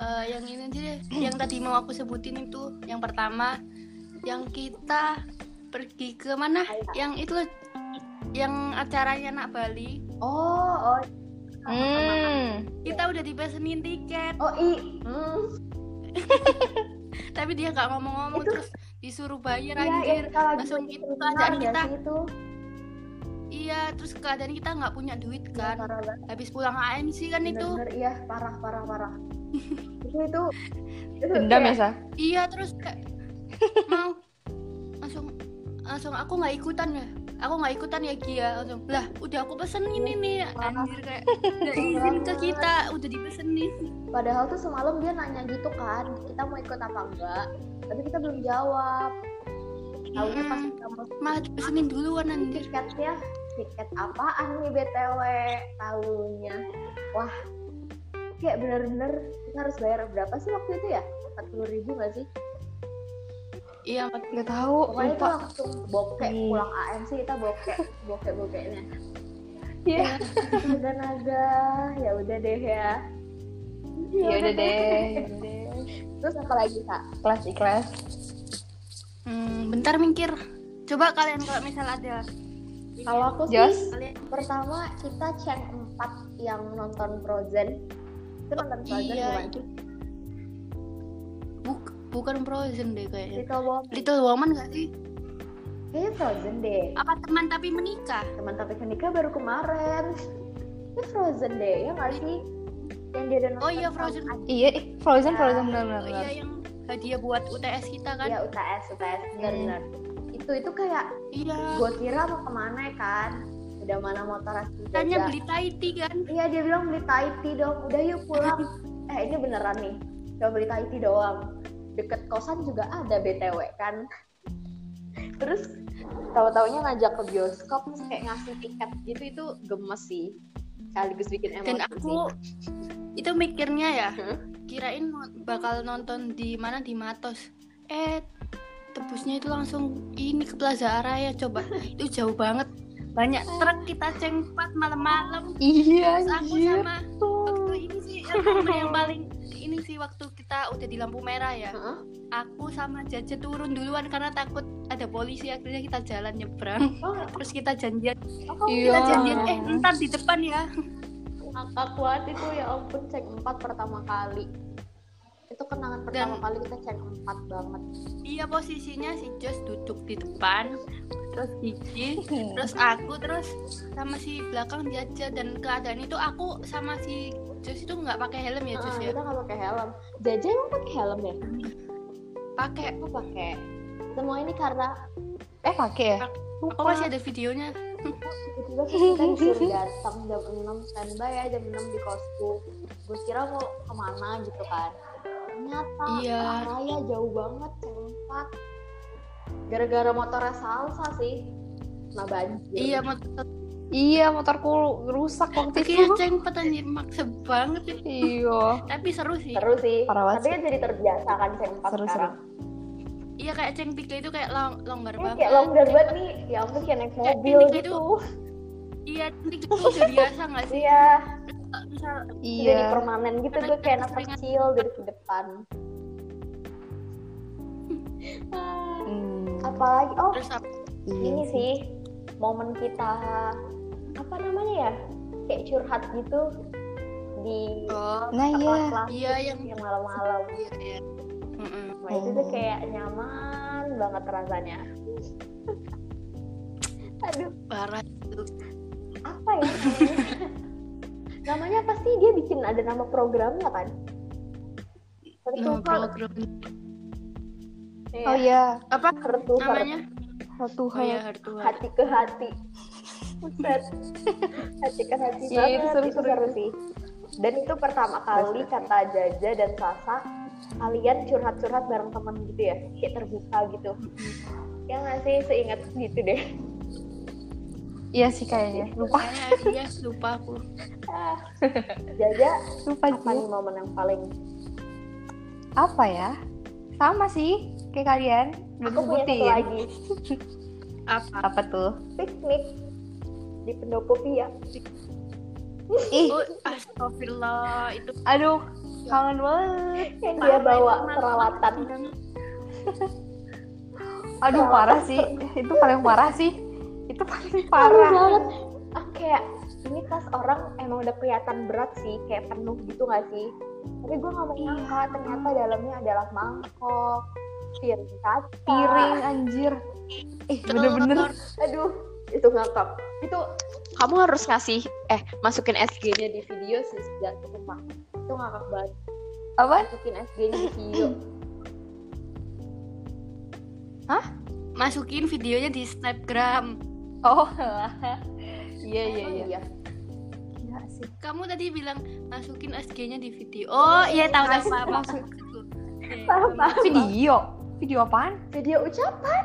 Speaker 3: eh, yang ini aja deh yang tadi mau aku sebutin itu yang pertama yang kita pergi ke mana yang itu loh, yang acaranya anak Bali
Speaker 1: oh oh
Speaker 4: Hmm.
Speaker 3: kita udah dipesenin tiket
Speaker 1: oh i hmm,
Speaker 3: tapi dia nggak ngomong-ngomong
Speaker 1: Itu-
Speaker 3: terus disuruh bayar
Speaker 1: iya,
Speaker 3: anjir
Speaker 1: yang kita lagi
Speaker 3: langsung
Speaker 1: di
Speaker 3: gitu
Speaker 1: terminal,
Speaker 3: keadaan
Speaker 1: nggak
Speaker 3: kita
Speaker 1: sih itu
Speaker 3: iya terus keadaan kita nggak punya duit kan
Speaker 1: Parah banget.
Speaker 3: habis pulang AMC kan itu
Speaker 1: Bener-bener, iya parah parah parah itu itu itu
Speaker 4: Dendam ya,
Speaker 1: kayak-
Speaker 4: Sa?
Speaker 3: Iya terus kayak mau langsung langsung aku nggak ikutan ya aku nggak ikutan ya Gia langsung lah udah aku pesen ini nih anjir kayak nggak izin ke kita udah dipesenin
Speaker 1: padahal tuh semalam dia nanya gitu kan kita mau ikut apa enggak tapi kita belum jawab tahunya pas
Speaker 3: Mm-mm.
Speaker 1: kita mau
Speaker 3: Hmm, malah dipesenin duluan anjir
Speaker 1: tiketnya tiket apaan nih btw tahunya wah kayak bener-bener kita harus bayar berapa sih waktu itu ya 40.000 ribu gak sih
Speaker 3: iya
Speaker 4: Gak tau,
Speaker 1: pokoknya itu
Speaker 4: Oh, lupa.
Speaker 1: langsung bokek
Speaker 4: Iya.
Speaker 1: pulang AMC kita bokek bokek bokeknya iya udah naga ya udah deh ya Iya,
Speaker 4: Ya udah deh.
Speaker 1: terus apa lagi kak
Speaker 4: Kelas ikhlas.
Speaker 3: hmm, bentar mikir coba kalian kalau misal ada
Speaker 1: kalau aku sih
Speaker 4: Jos?
Speaker 3: kalian
Speaker 1: pertama kita cek empat yang nonton Frozen itu kan nonton Frozen
Speaker 3: iya,
Speaker 1: bukan?
Speaker 3: itu. Buk- bukan Frozen deh kayaknya
Speaker 1: Little Woman
Speaker 3: Little Woman gak sih
Speaker 1: kayaknya Frozen deh
Speaker 3: apa teman tapi menikah
Speaker 1: teman tapi kan nikah baru kemarin itu Frozen deh ya nggak sih yang dia udah nonton
Speaker 3: oh iya Frozen
Speaker 4: Iya, ih, Frozen,
Speaker 1: Ya.
Speaker 4: Frozen benar-benar.
Speaker 3: Oh iya yang hadiah buat UTS kita kan?
Speaker 1: ya UTS UTS benar
Speaker 4: Hmm.
Speaker 1: benar itu itu kayak
Speaker 3: Iya.
Speaker 1: gue kira mau kemana ya kan udah mana motor asli
Speaker 3: Tanya
Speaker 1: Jogja.
Speaker 3: beli Thai tea kan?
Speaker 1: iya dia bilang beli Thai tea dong udah yuk pulang eh ini beneran nih udah beli Thai tea doang deket kosan juga ada btw kan terus tahu-taunya ngajak ke bioskop terus kayak ngasih tiket gitu itu gemes sih sekaligus bikin emosi
Speaker 3: Dan aku itu mikirnya ya,
Speaker 1: Hmm?
Speaker 3: kirain mau- bakal nonton di mana di Matos. Eh, tebusnya itu langsung ini ke Plaza Araya ya, coba. itu jauh banget. Banyak truk kita cengpat malam-malam.
Speaker 4: Iya,
Speaker 3: Terus aku
Speaker 4: anjir.
Speaker 3: sama waktu ini sih momen yang paling ini sih waktu kita udah di lampu merah ya. Aku sama Jaja turun duluan karena takut ada polisi akhirnya kita jalan nyebrang. Terus kita janjian. Kita
Speaker 2: Iya.
Speaker 3: Oh, janjian eh ntar di depan ya.
Speaker 1: Kakak kuat itu ya ampun cek 4 pertama kali. Itu kenangan pertama
Speaker 3: Dan-
Speaker 1: kali kita cek 4 banget.
Speaker 3: Iya posisinya si Jos duduk di depan, terus Gigi, terus aku, terus sama si belakang Jaja dan keadaan itu aku sama si Jos itu nggak pakai helm ya Jos
Speaker 1: Ah,
Speaker 3: ya.
Speaker 1: kita nggak pakai helm. Jaja emang pakai helm ya?
Speaker 3: Pakai.
Speaker 2: Aku pakai.
Speaker 1: Semua ini karena
Speaker 2: Eh pakai ya?
Speaker 3: Aku Oh, masih ada videonya.
Speaker 1: tiba-tiba kita disuruh datang jam 6 standby ya jam 6 di kosku. Gue kira mau kemana gitu kan. Ternyata
Speaker 3: Iya.
Speaker 1: raya jauh banget cek 4. Gara-gara motornya salsa sih. Nah banjir.
Speaker 3: Iya, motor
Speaker 2: Iya, motorku rusak
Speaker 1: Iya,
Speaker 2: waktu
Speaker 3: Akhirnya
Speaker 2: itu.
Speaker 3: ceng petani maksa banget ya.
Speaker 2: Iya.
Speaker 3: Tapi seru sih.
Speaker 1: Seru sih.
Speaker 2: Parah banget
Speaker 1: Tapi kan jadi terbiasa kan cek 4
Speaker 2: Seru,
Speaker 1: sekarang.
Speaker 3: Iya kayak ceng tiga itu kayak long- longgar
Speaker 1: Ini
Speaker 3: banget.
Speaker 1: kayak longgar banget nih, ya ampun kayak naik
Speaker 3: Kayak
Speaker 1: mobil
Speaker 3: ini
Speaker 1: gitu.
Speaker 3: gitu. Iya ceng tiga itu udah biasa nggak sih?
Speaker 1: Iya,
Speaker 3: Misal
Speaker 1: jadi
Speaker 2: Iya.
Speaker 1: permanen gitu
Speaker 3: Karena
Speaker 1: gue kayak
Speaker 3: kita
Speaker 1: anak
Speaker 3: seringan.
Speaker 1: kecil dari ke depan.
Speaker 2: Hmm,
Speaker 1: Apalagi, oh
Speaker 3: terus apa?
Speaker 2: iya
Speaker 1: ini sih momen kita apa namanya ya kayak curhat gitu di
Speaker 3: Oh,
Speaker 2: Nah, iya.
Speaker 1: kelas
Speaker 3: iya yang
Speaker 1: yang malam-malam.
Speaker 3: iya. iya. Mm-mm.
Speaker 1: Nah, itu
Speaker 2: Oh.
Speaker 1: tuh kayak nyaman banget rasanya. Aduh,
Speaker 3: Parah itu.
Speaker 1: apa ya namanya? namanya pasti dia bikin ada nama programnya kan?
Speaker 3: Nama
Speaker 1: Tertukar.
Speaker 3: program
Speaker 2: Oh iya,
Speaker 3: apa
Speaker 1: Tertukar
Speaker 3: namanya?
Speaker 2: satu
Speaker 1: Iya.
Speaker 3: Oh, ya,
Speaker 2: hal.
Speaker 3: Hartua.
Speaker 1: hati ke hati. Buset. hati ke hati
Speaker 2: Iya, itu
Speaker 1: banget. Itu
Speaker 2: seru-seru.
Speaker 1: seru sih. Dan itu pertama kali kata Jaja dan Sasa kalian curhat-curhat bareng temen gitu ya, kayak terbuka gitu. Ya nggak sih, seingat gitu deh.
Speaker 2: Iya sih kayaknya. Lupa,
Speaker 3: Kayaknya iya lupa aku.
Speaker 1: Ah. Jaja,
Speaker 2: lupa
Speaker 1: apa
Speaker 2: sih.
Speaker 1: nih momen yang paling
Speaker 2: Apa ya? Sama sih kayak kalian. Belum
Speaker 1: aku punya satu
Speaker 2: sebutin.
Speaker 1: lagi
Speaker 3: Apa?
Speaker 2: Apa tuh?
Speaker 1: piknik di pendopo pia
Speaker 2: Ih,
Speaker 3: Oh, astagfirullah itu
Speaker 2: aduh, kangen banget.
Speaker 1: yang dia
Speaker 3: parah,
Speaker 1: bawa
Speaker 3: itu malam.
Speaker 1: peralatan
Speaker 2: Aduh
Speaker 1: Parah.
Speaker 2: parah sih, itu paling parah sih. Itu paling
Speaker 1: parah
Speaker 2: parah.
Speaker 1: banget ah kayak ini tas orang emang udah kelihatan berat sih kayak penuh gitu gak sih tapi gue nggak mau nyangka ternyata dalamnya adalah mangkok piring kaca
Speaker 2: Piring anjir. Eh bener-bener.
Speaker 1: aduh itu ngakak itu kamu harus ngasih eh masukin SG-nya di video sih jatuh sumpah itu ngakak banget
Speaker 2: Apa?
Speaker 1: masukin SG-nya di video
Speaker 3: Masukin videonya di Snapgram.
Speaker 2: Oh Iya iya iya.
Speaker 1: iya
Speaker 2: Gila sih.
Speaker 3: Kamu tadi bilang masukin SG-nya di video. Oh, iya tahu tahu
Speaker 2: Masuk-
Speaker 3: apa
Speaker 2: masuk.
Speaker 3: Iya,
Speaker 1: Paham, paham.
Speaker 2: Video. Video apaan?
Speaker 1: video ucapan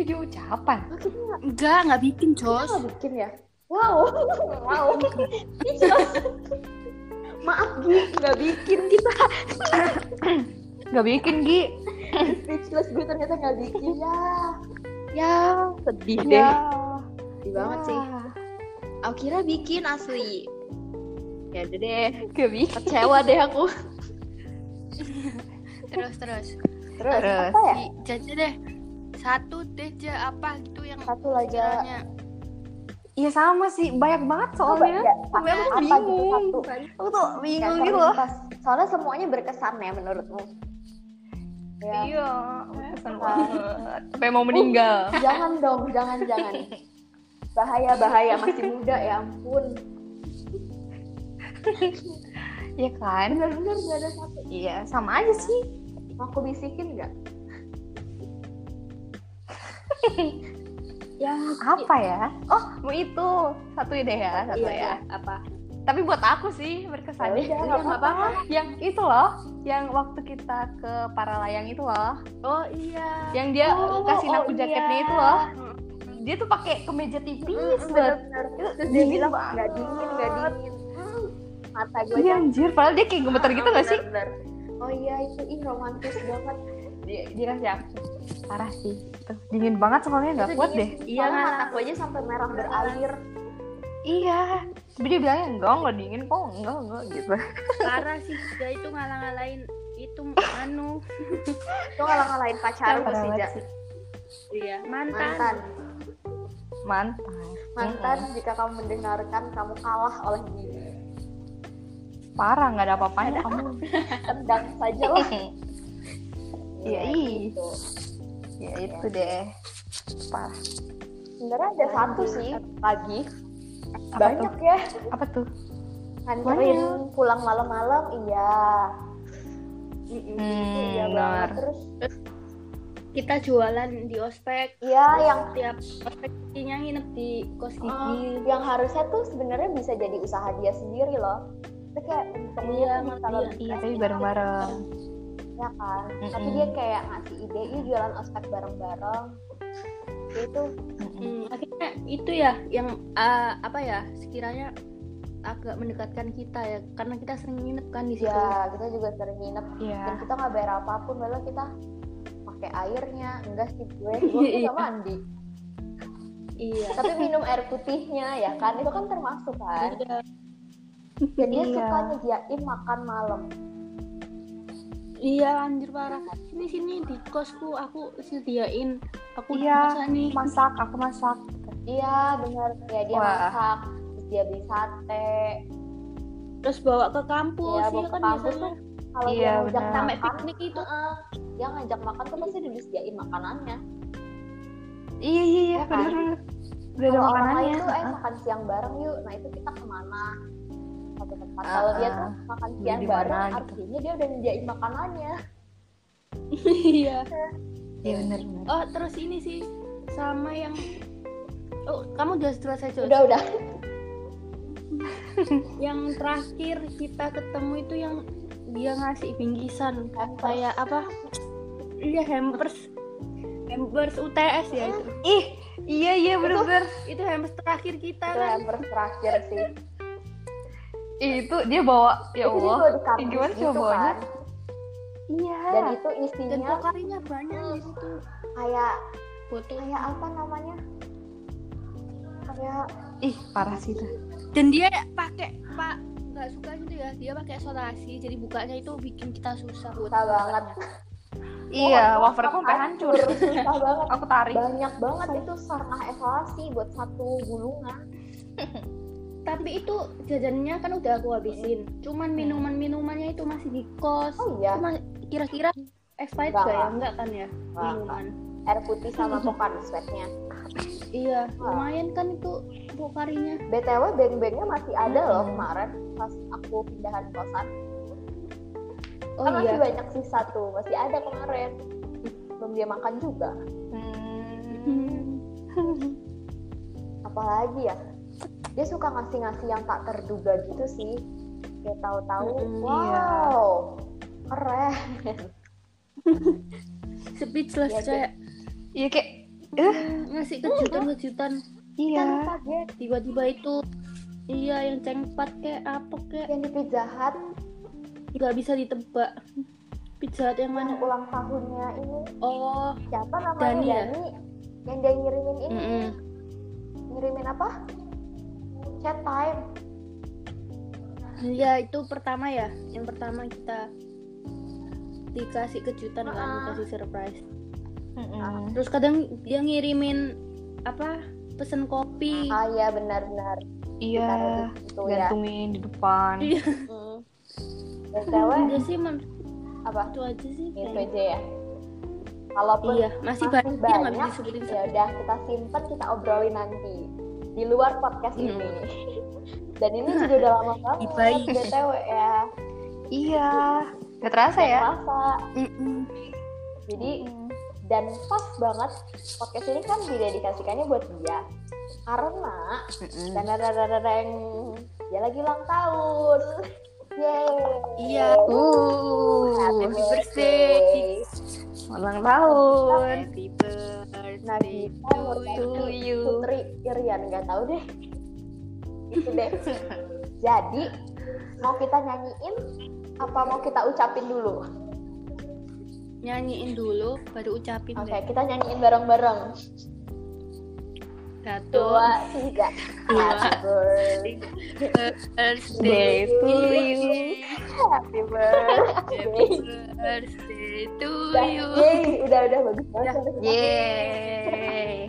Speaker 2: Video ucapan.
Speaker 1: Oh, kita nggak-
Speaker 3: Enggak, enggak bikin,
Speaker 1: kita
Speaker 3: Jos.
Speaker 1: nggak bikin ya wow wow maaf Gi nggak bikin kita
Speaker 2: Gak bikin Gi.
Speaker 1: speechless gue ternyata nggak bikin ya ya sedih sedih banget sih aku kira bikin asli ya udah deh
Speaker 2: Gak bikin.
Speaker 1: kecewa deh aku
Speaker 3: Terus terus.
Speaker 1: terus,
Speaker 2: Terus.
Speaker 1: apa ya
Speaker 3: Di Jaja deh. Satu deh, Ja, apa gitu yang
Speaker 1: satu lagi
Speaker 3: caranya.
Speaker 2: Iya sama sih, banyak banget
Speaker 1: Coba,
Speaker 2: soalnya.
Speaker 1: ya,
Speaker 2: Gue tuh
Speaker 1: apa gitu
Speaker 2: bingung.
Speaker 1: satu?
Speaker 2: Aku tuh bingung
Speaker 1: Yang
Speaker 2: gitu loh.
Speaker 1: terlintas. soalnya semuanya berkesan ya menurutmu ya
Speaker 2: Iya, kesan banget. Sampai ya? mau meninggal.
Speaker 1: jangan dong, jangan jangan. Bahaya bahaya masih muda ya ampun.
Speaker 2: Iya kan?
Speaker 1: Bener-bener gak ada satu.
Speaker 2: Iya, sama aja sih.
Speaker 1: Mau aku bisikin nggak? ya
Speaker 2: apa ya? Oh, mau itu satu ide ya, satu
Speaker 1: iya,
Speaker 2: ya.
Speaker 1: iya, apa?
Speaker 2: Tapi buat aku sih
Speaker 1: Ya udah,
Speaker 2: berkesannya Yang
Speaker 1: nggak apa-apa.
Speaker 2: Yang itu loh, yang waktu kita ke para layang itu loh,
Speaker 3: Oh, iya.
Speaker 2: yang dia
Speaker 1: Oh,
Speaker 2: kasihin
Speaker 1: oh,
Speaker 2: aku jaketnya
Speaker 1: iya.
Speaker 2: itu loh. Dia tuh pakai kemeja tipis banget.
Speaker 1: Bener-bener. Terus dia
Speaker 2: dingin
Speaker 1: bilang
Speaker 2: banget.
Speaker 1: nggak dingin, nggak dingin. Hmm, Mata gue
Speaker 2: Iya anjir, padahal dia kayak gemeter gitu gak sih?
Speaker 1: bener-bener. Oh iya itu ih romantis banget.
Speaker 2: Dia, dia kasih aku. Parah sih. Itu Dingin banget soalnya nggak kuat deh.
Speaker 1: Iya mata gue aja sampai merah berair.
Speaker 2: Iya. Tapi dia bilangnya enggak, enggak dingin kok, enggak, enggak gitu.
Speaker 3: parah sih dia itu ngalang-ngalain itu anu
Speaker 1: Itu ngalah-ngalahin pacar lu
Speaker 2: Parah
Speaker 1: sih, Ja.
Speaker 2: banget sih. Kan?
Speaker 3: iya mantan,
Speaker 1: Mantan.
Speaker 2: Mantan.
Speaker 1: Mantan,
Speaker 2: Iya.
Speaker 1: jika kamu mendengarkan, kamu kalah oleh diri.
Speaker 2: Parah, nggak ada apa-apanya kamu.
Speaker 1: Tendang saja lah.
Speaker 2: Iya, ih.
Speaker 1: gitu.
Speaker 2: Ya itu deh. Parah.
Speaker 1: Sebenarnya ada satu sih lagi.
Speaker 2: Iya. Apa
Speaker 1: Banyak
Speaker 2: tuh?
Speaker 1: ya.
Speaker 2: Apa tuh?
Speaker 1: Nganterin pulang malam-malam, iya. Mm-mm, gitu,
Speaker 2: Hmm,
Speaker 1: iya
Speaker 2: benar.
Speaker 1: banget. Terus
Speaker 3: kita jualan di ospek
Speaker 1: iya yang
Speaker 3: tiap ospek istrinya nginep di kos
Speaker 1: Oh,
Speaker 3: gigi
Speaker 1: yang harusnya tuh sebenarnya bisa jadi usaha dia sendiri loh. Itu kayak untungnya
Speaker 3: Iya,
Speaker 1: tuh
Speaker 3: makanya.
Speaker 1: kalau
Speaker 2: Iya,
Speaker 1: dikasih
Speaker 2: tapi bareng-bareng.
Speaker 1: ya kan. Tapi
Speaker 2: Mm-mm.
Speaker 1: dia kayak ngasih ide, yuk jualan ospek bareng-bareng. Dia Itu
Speaker 3: Hmm, akhirnya itu ya yang eh, apa ya sekiranya agak mendekatkan kita ya karena kita sering nginep kan di situ
Speaker 1: ya kita juga sering nginep
Speaker 2: Iya.
Speaker 1: dan kita nggak bayar apapun, malah kita pakai airnya, enggak sih gue, gue tuh nggak mandi.
Speaker 3: iya
Speaker 1: Tapi minum air putihnya ya kan, itu kan termasuk kan.
Speaker 3: Iya.
Speaker 1: Dan dia
Speaker 2: Iya.
Speaker 1: suka nyediain makan malam.
Speaker 3: Iya anjir parah. Ini sini di kosku aku sediain aku
Speaker 2: Iya,
Speaker 3: masak nih.
Speaker 2: Masak, aku masak.
Speaker 1: Iya benar, ya dia
Speaker 2: Wah.
Speaker 1: masak, terus dia beli sate,
Speaker 3: Terus bawa ke kampus,
Speaker 1: Iya,
Speaker 3: iya,
Speaker 1: bawa ke
Speaker 3: kan
Speaker 1: kampus
Speaker 3: biasanya
Speaker 1: kalau
Speaker 2: Iya,
Speaker 1: dia ngajak
Speaker 2: benar.
Speaker 3: sampai
Speaker 1: makan,
Speaker 3: piknik itu.
Speaker 1: heeh, dia ngajak makan tuh pasti udah disediain makanannya.
Speaker 2: Iya, iya, iya,
Speaker 1: Iya kan?
Speaker 2: bener-bener. Udah ada ya?
Speaker 1: kalau orang lain
Speaker 2: makanannya.
Speaker 1: tuh eh makan siang bareng yuk, nah itu kita kemana? Satu tempat.
Speaker 2: Ah,
Speaker 1: kalau dia
Speaker 2: ah.
Speaker 1: tuh makan
Speaker 2: Beli
Speaker 1: siang
Speaker 2: di mana
Speaker 1: bareng,
Speaker 2: gitu.
Speaker 1: artinya dia udah nyediain makanannya.
Speaker 3: Iya.
Speaker 2: Iya, bener-bener.
Speaker 3: Oh, terus ini sih sama yang Oh, kamu udah selesai Jos?
Speaker 1: Udah udah.
Speaker 3: Yang terakhir kita ketemu itu yang dia ngasih bingkisan
Speaker 1: Hampers.
Speaker 3: kayak apa? Iya, hampers. Hampers UTS ya itu.
Speaker 2: Ih, iya, iya, bener-bener.
Speaker 3: Itu hampers terakhir kita
Speaker 1: Itu
Speaker 3: kan.
Speaker 1: yang terakhir sih.
Speaker 2: Ih, itu dia bawa, ya
Speaker 1: itu dia
Speaker 2: Allah.
Speaker 1: bawa di
Speaker 2: Ih,
Speaker 1: kampus
Speaker 2: Gimana sih
Speaker 1: gitu
Speaker 2: bawanya?
Speaker 1: kan.
Speaker 2: Iya.
Speaker 1: Dan itu kan
Speaker 3: Dan
Speaker 1: isinya
Speaker 3: pokarinya banyak di situ.
Speaker 1: kayak
Speaker 3: Foto
Speaker 1: kayak apa namanya? Kayak
Speaker 2: Ih, parah sih itu.
Speaker 3: dan dia pakai pak nggak suka gitu ya dia pakai solasi jadi bukanya itu bikin kita susah buat
Speaker 1: susah banget.
Speaker 2: Iya,
Speaker 1: Oh,
Speaker 2: waferku sampai hancur.
Speaker 1: Susah banget.
Speaker 2: Aku tarik.
Speaker 1: Banyak banget itu sarnah evaluasi buat satu gulungan.
Speaker 3: tapi itu jajannya kan udah aku habisin cuman minuman minumannya itu masih di kos
Speaker 1: Hmm. Oh iya.
Speaker 3: Cuma kira-kira expired
Speaker 1: Nggak
Speaker 3: gak ya
Speaker 1: lah.
Speaker 3: enggak kan ya
Speaker 1: Nggak,
Speaker 3: minuman
Speaker 1: air putih sama pokan sweatnya
Speaker 3: iya
Speaker 1: Nggak.
Speaker 3: lumayan kan itu pokarinya
Speaker 1: btw beng-bengnya masih ada loh
Speaker 3: Hmm.
Speaker 1: kemarin pas aku pindahan kosan
Speaker 3: oh
Speaker 1: kan masih
Speaker 3: iya
Speaker 1: banyak sisa tuh masih ada kemarin belum dia makan juga
Speaker 3: Hmm.
Speaker 1: apalagi ya dia suka ngasih-ngasih yang tak terduga gitu sih kayak tahu-tahu
Speaker 3: Mm-mm,
Speaker 1: wow keren
Speaker 3: speechless
Speaker 1: Iya, Hmm,
Speaker 3: kayak
Speaker 2: Iya, kayak
Speaker 3: ngasih kejutan-kejutan
Speaker 2: iya.
Speaker 1: kan lupa dia
Speaker 3: tiba-tiba itu iya yang cengpat kayak apa kayak
Speaker 1: yang di Pizza Hut
Speaker 3: nggak bisa ditebak pizza Hut yang
Speaker 1: yang
Speaker 3: mana
Speaker 1: ulang tahunnya ini
Speaker 3: oh
Speaker 1: siapa namanya
Speaker 3: Dani
Speaker 1: Dani,
Speaker 3: ya?
Speaker 1: yang dia ngirimin ini
Speaker 3: mm
Speaker 1: ngirimin apa chat time
Speaker 3: Iya itu pertama ya, yang pertama kita dikasih kejutan kan,
Speaker 1: Ah.
Speaker 3: dikasih surprise.
Speaker 2: Mm-mm.
Speaker 3: Terus kadang dia ngirimin apa pesen kopi.
Speaker 1: ah iya benar-benar
Speaker 2: Iya.
Speaker 1: itu ya
Speaker 2: Gantungin di depan.
Speaker 3: Iya.
Speaker 1: Mm. btw
Speaker 3: Iya sih men-
Speaker 1: apa
Speaker 3: Iya, itu aja sih.
Speaker 1: itu
Speaker 3: kayaknya.
Speaker 1: aja ya kalaupun
Speaker 3: Iya masih, banyak, Iya. yang nggak bisa disebutin.
Speaker 1: ya udah kita simpen kita obrolin nanti di luar podcast
Speaker 3: Mm.
Speaker 1: ini dan ini juga udah lama banget
Speaker 3: Baik.
Speaker 1: btw ya
Speaker 2: Iya. Gak terasa ya?
Speaker 1: masa
Speaker 3: Mm-mm.
Speaker 1: jadi dan pas banget podcast ini kan didedikasikannya buat dia karena
Speaker 2: Mm-mm.
Speaker 1: dan dia lagi ulang tahun yeay
Speaker 3: Iya.
Speaker 2: Uh,
Speaker 1: Happy
Speaker 3: birthday.
Speaker 2: ulang tahun.
Speaker 3: Happy birthday
Speaker 1: Nah, kita
Speaker 3: to you.
Speaker 1: to Putri Irian nggak tahu deh. Itu deh. Jadi mau kita nyanyiin apa mau kita ucapin dulu?
Speaker 3: Nyanyiin dulu, baru ucapin
Speaker 1: Oke,
Speaker 3: deh.
Speaker 1: kita nyanyiin bareng-bareng. dua
Speaker 2: Satu,
Speaker 1: tiga
Speaker 2: Dua.
Speaker 1: happy birthday
Speaker 2: birthday to you.
Speaker 1: happy birthday
Speaker 3: Happy birthday to you.
Speaker 1: Yeay, udah udah bagus banget
Speaker 2: Yeay.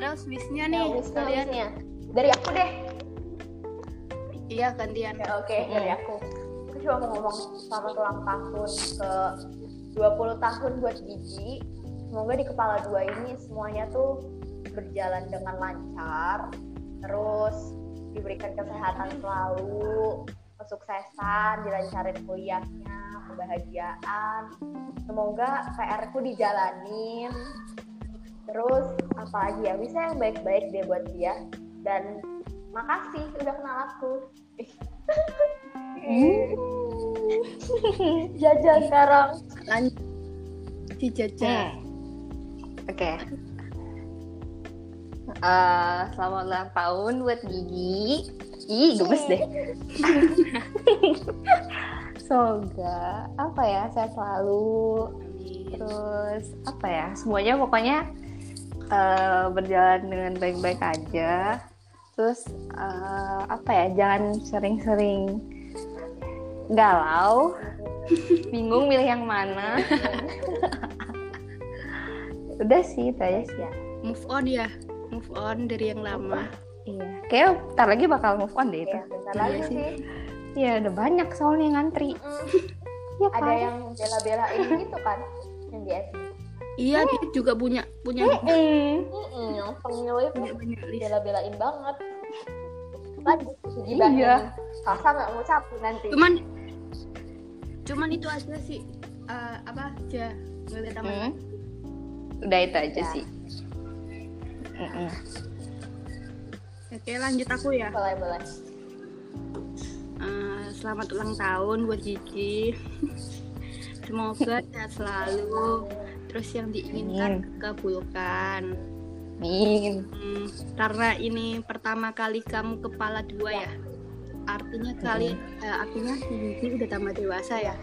Speaker 3: Terus wisnya nih,
Speaker 1: Nih,
Speaker 3: kalian
Speaker 1: kaliannya dari aku deh.
Speaker 3: iya gantian.
Speaker 1: Ya, Oke, dari aku. Aku cuma mau ngomong selamat ulang tahun ke 20 tahun buat Gigi. Semoga di kepala dua ini semuanya tuh berjalan dengan lancar, terus diberikan kesehatan selalu, kesuksesan, dilancarin kuliahnya, kebahagiaan. Semoga PR-ku dijalanin. Terus apalagi ya, bisa yang baik-baik deh buat dia. Dan makasih udah kenal aku. Jajan sekarang.
Speaker 3: Lanjut dijajah.
Speaker 2: Hmm. Oke. Eh, selamat ulang tahun buat Gigi. Ih, gemes deh. Semoga apa ya saya selalu Hmm. terus apa ya semuanya pokoknya eh, berjalan dengan baik-baik aja. Terus eh, apa ya jangan sering-sering galau, bingung milih yang mana. Udah sih itu aja sih.
Speaker 3: Move on ya, move on dari yang lama.
Speaker 2: Iya, kayak ntar lagi bakal move on deh itu.
Speaker 1: Ya, bentar
Speaker 3: Iya
Speaker 1: lagi
Speaker 3: sih.
Speaker 1: sih.
Speaker 2: Iya, udah banyak soalnya yang ngantri. Iya,
Speaker 1: Ada yang bela-belain gitu kan yang di SD.
Speaker 3: Iya, dia juga punya punya
Speaker 2: Hmm.
Speaker 1: Mm-mm, yang penyelip
Speaker 3: punya banyak list.
Speaker 1: bela-belain banget. Lanjut digibahin.
Speaker 2: Iya.
Speaker 1: Salsa nggak mau capek nanti.
Speaker 3: Cuman cuman itu aja sih eh, apa aja nggak ada tambahan.
Speaker 2: Hmm. Udah itu aja
Speaker 1: Ya.
Speaker 2: sih. Mm-mm.
Speaker 3: Oke, lanjut aku ya.
Speaker 1: Boleh boleh.
Speaker 3: Eh, selamat ulang tahun buat Gigi. Semoga sehat selalu. Terus yang diinginkan dikabulkan.
Speaker 2: Min.
Speaker 3: Hmm, karena ini pertama kali kamu kepala dua ya. Artinya kali eh, artinya Gigi udah tambah dewasa ya.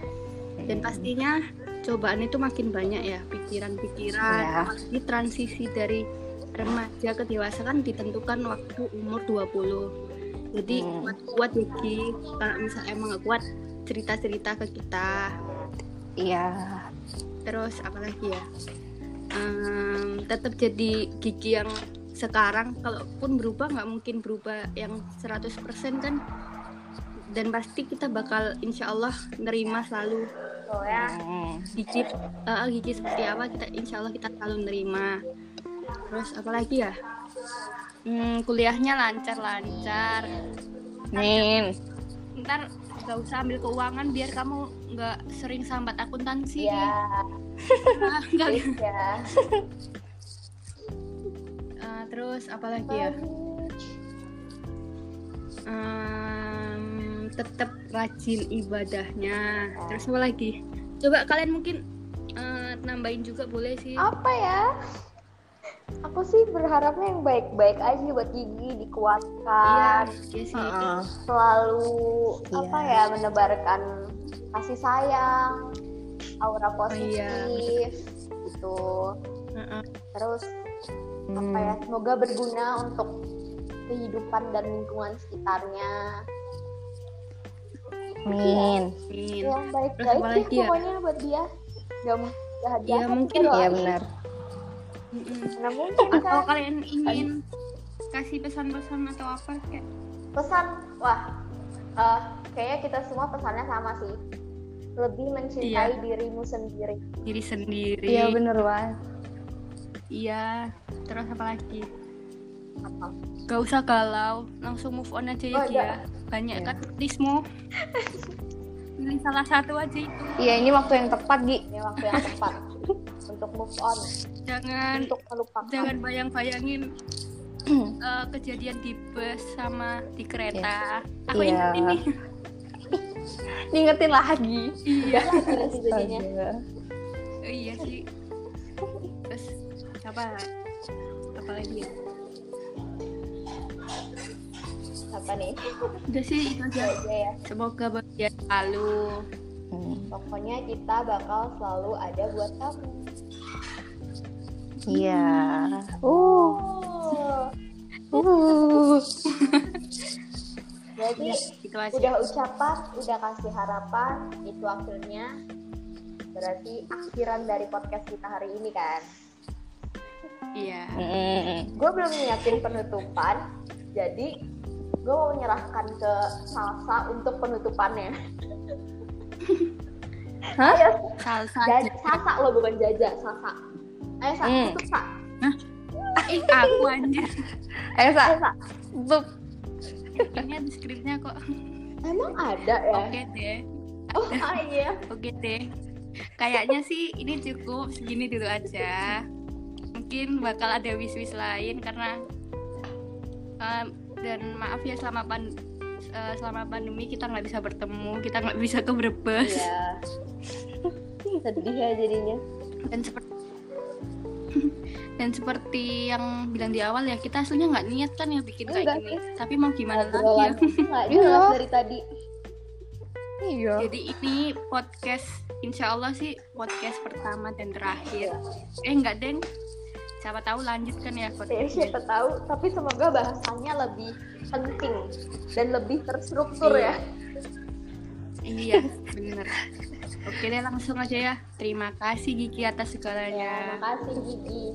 Speaker 3: Dan pastinya cobaan itu makin banyak ya, pikiran-pikiran.
Speaker 2: Ya.
Speaker 3: Apalagi transisi dari remaja ke dewasa kan ditentukan waktu umur 20. Jadi
Speaker 2: Hmm.
Speaker 3: kuat-kuat ya Ki. Kalau misalnya emang gak kuat cerita-cerita ke kita.
Speaker 2: Iya.
Speaker 3: Terus apa lagi ya? Em, tetap jadi gigi yang sekarang kalaupun berubah nggak mungkin berubah yang 100% kan dan pasti kita bakal insya Allah nerima selalu
Speaker 1: Soalnya
Speaker 2: Mm.
Speaker 3: gigi eh, gigi seperti apa kita insya Allah kita selalu nerima terus apalagi ya Hmm, kuliahnya lancar lancar
Speaker 2: Min.
Speaker 3: ntar nggak usah ambil keuangan biar kamu nggak sering sambat akuntansi
Speaker 1: ya,
Speaker 3: Ah, nggak-
Speaker 1: ya.
Speaker 3: Eh, terus apalagi ya Em, tetap rajin ibadahnya terus apa lagi coba kalian mungkin eh, nambahin juga boleh sih
Speaker 2: Oh.
Speaker 1: Apa ya? Aku sih berharapnya yang baik-baik aja buat gigi
Speaker 3: iya
Speaker 1: dikuatkan,
Speaker 3: iya sih
Speaker 2: Heeh.
Speaker 1: selalu
Speaker 2: Iya.
Speaker 1: apa ya menebarkan kasih sayang, aura positif
Speaker 3: iya.
Speaker 1: gitu.
Speaker 3: Heeh.
Speaker 1: terus
Speaker 2: Hmm.
Speaker 1: apa ya semoga berguna untuk kehidupan dan lingkungan sekitarnya yang
Speaker 2: Min.
Speaker 3: Amin.
Speaker 1: baik
Speaker 3: Iya, Terus
Speaker 1: baik
Speaker 3: apa
Speaker 1: sih
Speaker 3: lagi ya?
Speaker 1: pokoknya buat dia gak mungkin bahagia
Speaker 3: Ya, mungkin
Speaker 1: ya
Speaker 2: Iya benar.
Speaker 3: Mm-mm.
Speaker 1: mana mungkin kan
Speaker 3: atau kalian ingin kasih pesan-pesan atau apa kayak
Speaker 1: pesan wah eh, kayaknya kita semua pesannya sama sih lebih mencintai
Speaker 3: Iya.
Speaker 1: dirimu sendiri
Speaker 3: diri sendiri
Speaker 2: Iya benar banget.
Speaker 3: Iya. terus apa lagi
Speaker 1: Apa?
Speaker 3: gak usah galau langsung move on aja ya
Speaker 1: Oh,
Speaker 3: Ki, ya. banyak kan listmu pilih salah satu aja itu
Speaker 2: Iya ini waktu yang tepat Gi.
Speaker 1: ini waktu yang tepat untuk move on
Speaker 3: jangan
Speaker 1: untuk melupakan
Speaker 3: jangan bayang-bayangin eh, kejadian di bus sama di kereta aku
Speaker 2: Iya.
Speaker 3: ingat ini
Speaker 2: Diingetin lagi.
Speaker 3: iya
Speaker 1: Nanti jadinya
Speaker 2: Astaga.
Speaker 3: Oh, iya sih terus apa apa lagi ya
Speaker 1: apa nih
Speaker 3: udah sih itu aja
Speaker 1: aja ya
Speaker 3: semoga bahagia selalu
Speaker 2: Hmm.
Speaker 1: pokoknya kita bakal selalu ada buat kamu
Speaker 2: Iya. Uh.
Speaker 1: Oh. Hmm.
Speaker 2: Uh.
Speaker 1: Jadi
Speaker 3: gitu aja
Speaker 1: udah ucapan, udah kasih harapan, itu akhirnya berarti akhiran dari podcast kita hari ini kan.
Speaker 3: iya
Speaker 2: Mm-mm.
Speaker 1: Gue belum nyiapin penutupan, jadi gue mau menyerahkan ke Salsa untuk penutupannya.
Speaker 2: Hah?
Speaker 1: Ayo,
Speaker 3: salsa
Speaker 1: Jaja, Salsa lo bukan Jaja, Salsa. Ayo Sa,
Speaker 2: Hmm.
Speaker 1: tutup Sa.
Speaker 3: ih aku anjir
Speaker 2: Ayo, Sa. Tutup.
Speaker 3: ini ada skripnya kok
Speaker 2: Iya.
Speaker 1: Emang ada ya?
Speaker 3: oke deh
Speaker 1: Oh iya.
Speaker 3: Oke deh. gitu ya. Kayaknya sih ini cukup segini dulu aja. Mungkin bakal ada wis-wis lain karena um, dan maaf ya selama pan eh, selama pandemi kita nggak bisa bertemu, kita nggak bisa ke Brebes.
Speaker 1: Iya. Sedih ya jadinya.
Speaker 3: Dan seperti dan seperti yang bilang di awal ya kita aslinya nggak niat kan ya bikin kayak
Speaker 1: Enggak
Speaker 3: gini. Tapi mau gimana lagi ya.
Speaker 1: Obrolan nggak jelas dari tadi.
Speaker 2: Iya.
Speaker 3: Jadi ini podcast Insya Allah sih podcast pertama dan
Speaker 2: Iya.
Speaker 3: terakhir. Eh enggak deng, siapa tahu lanjutkan ya
Speaker 1: Ya,
Speaker 3: podcast.
Speaker 1: siapa tahu, tapi semoga bahasannya lebih penting dan lebih terstruktur ya.
Speaker 3: iya bener. Oke deh langsung aja ya. Terima kasih Gigi atas
Speaker 1: Ya,
Speaker 3: segalanya.
Speaker 1: makasih Gigi.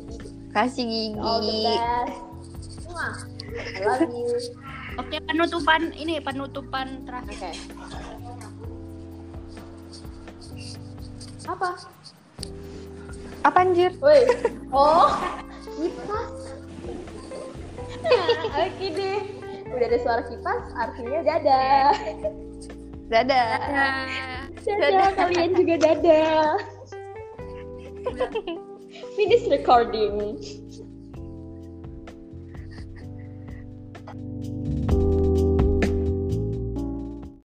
Speaker 2: Kasih
Speaker 1: All the
Speaker 2: gigi.
Speaker 1: best. Mwah. I love you.
Speaker 3: Oke penutupan ini penutupan
Speaker 1: Oke.
Speaker 3: terakhir.
Speaker 1: Apa?
Speaker 2: Apa anjir?
Speaker 1: Woi. Oh, kipas. Nah, Oke deh. Udah ada suara kipas, artinya dadah.
Speaker 2: Dadah.
Speaker 3: Dadah.
Speaker 1: Dadah, kalian juga dadah. Finish recording.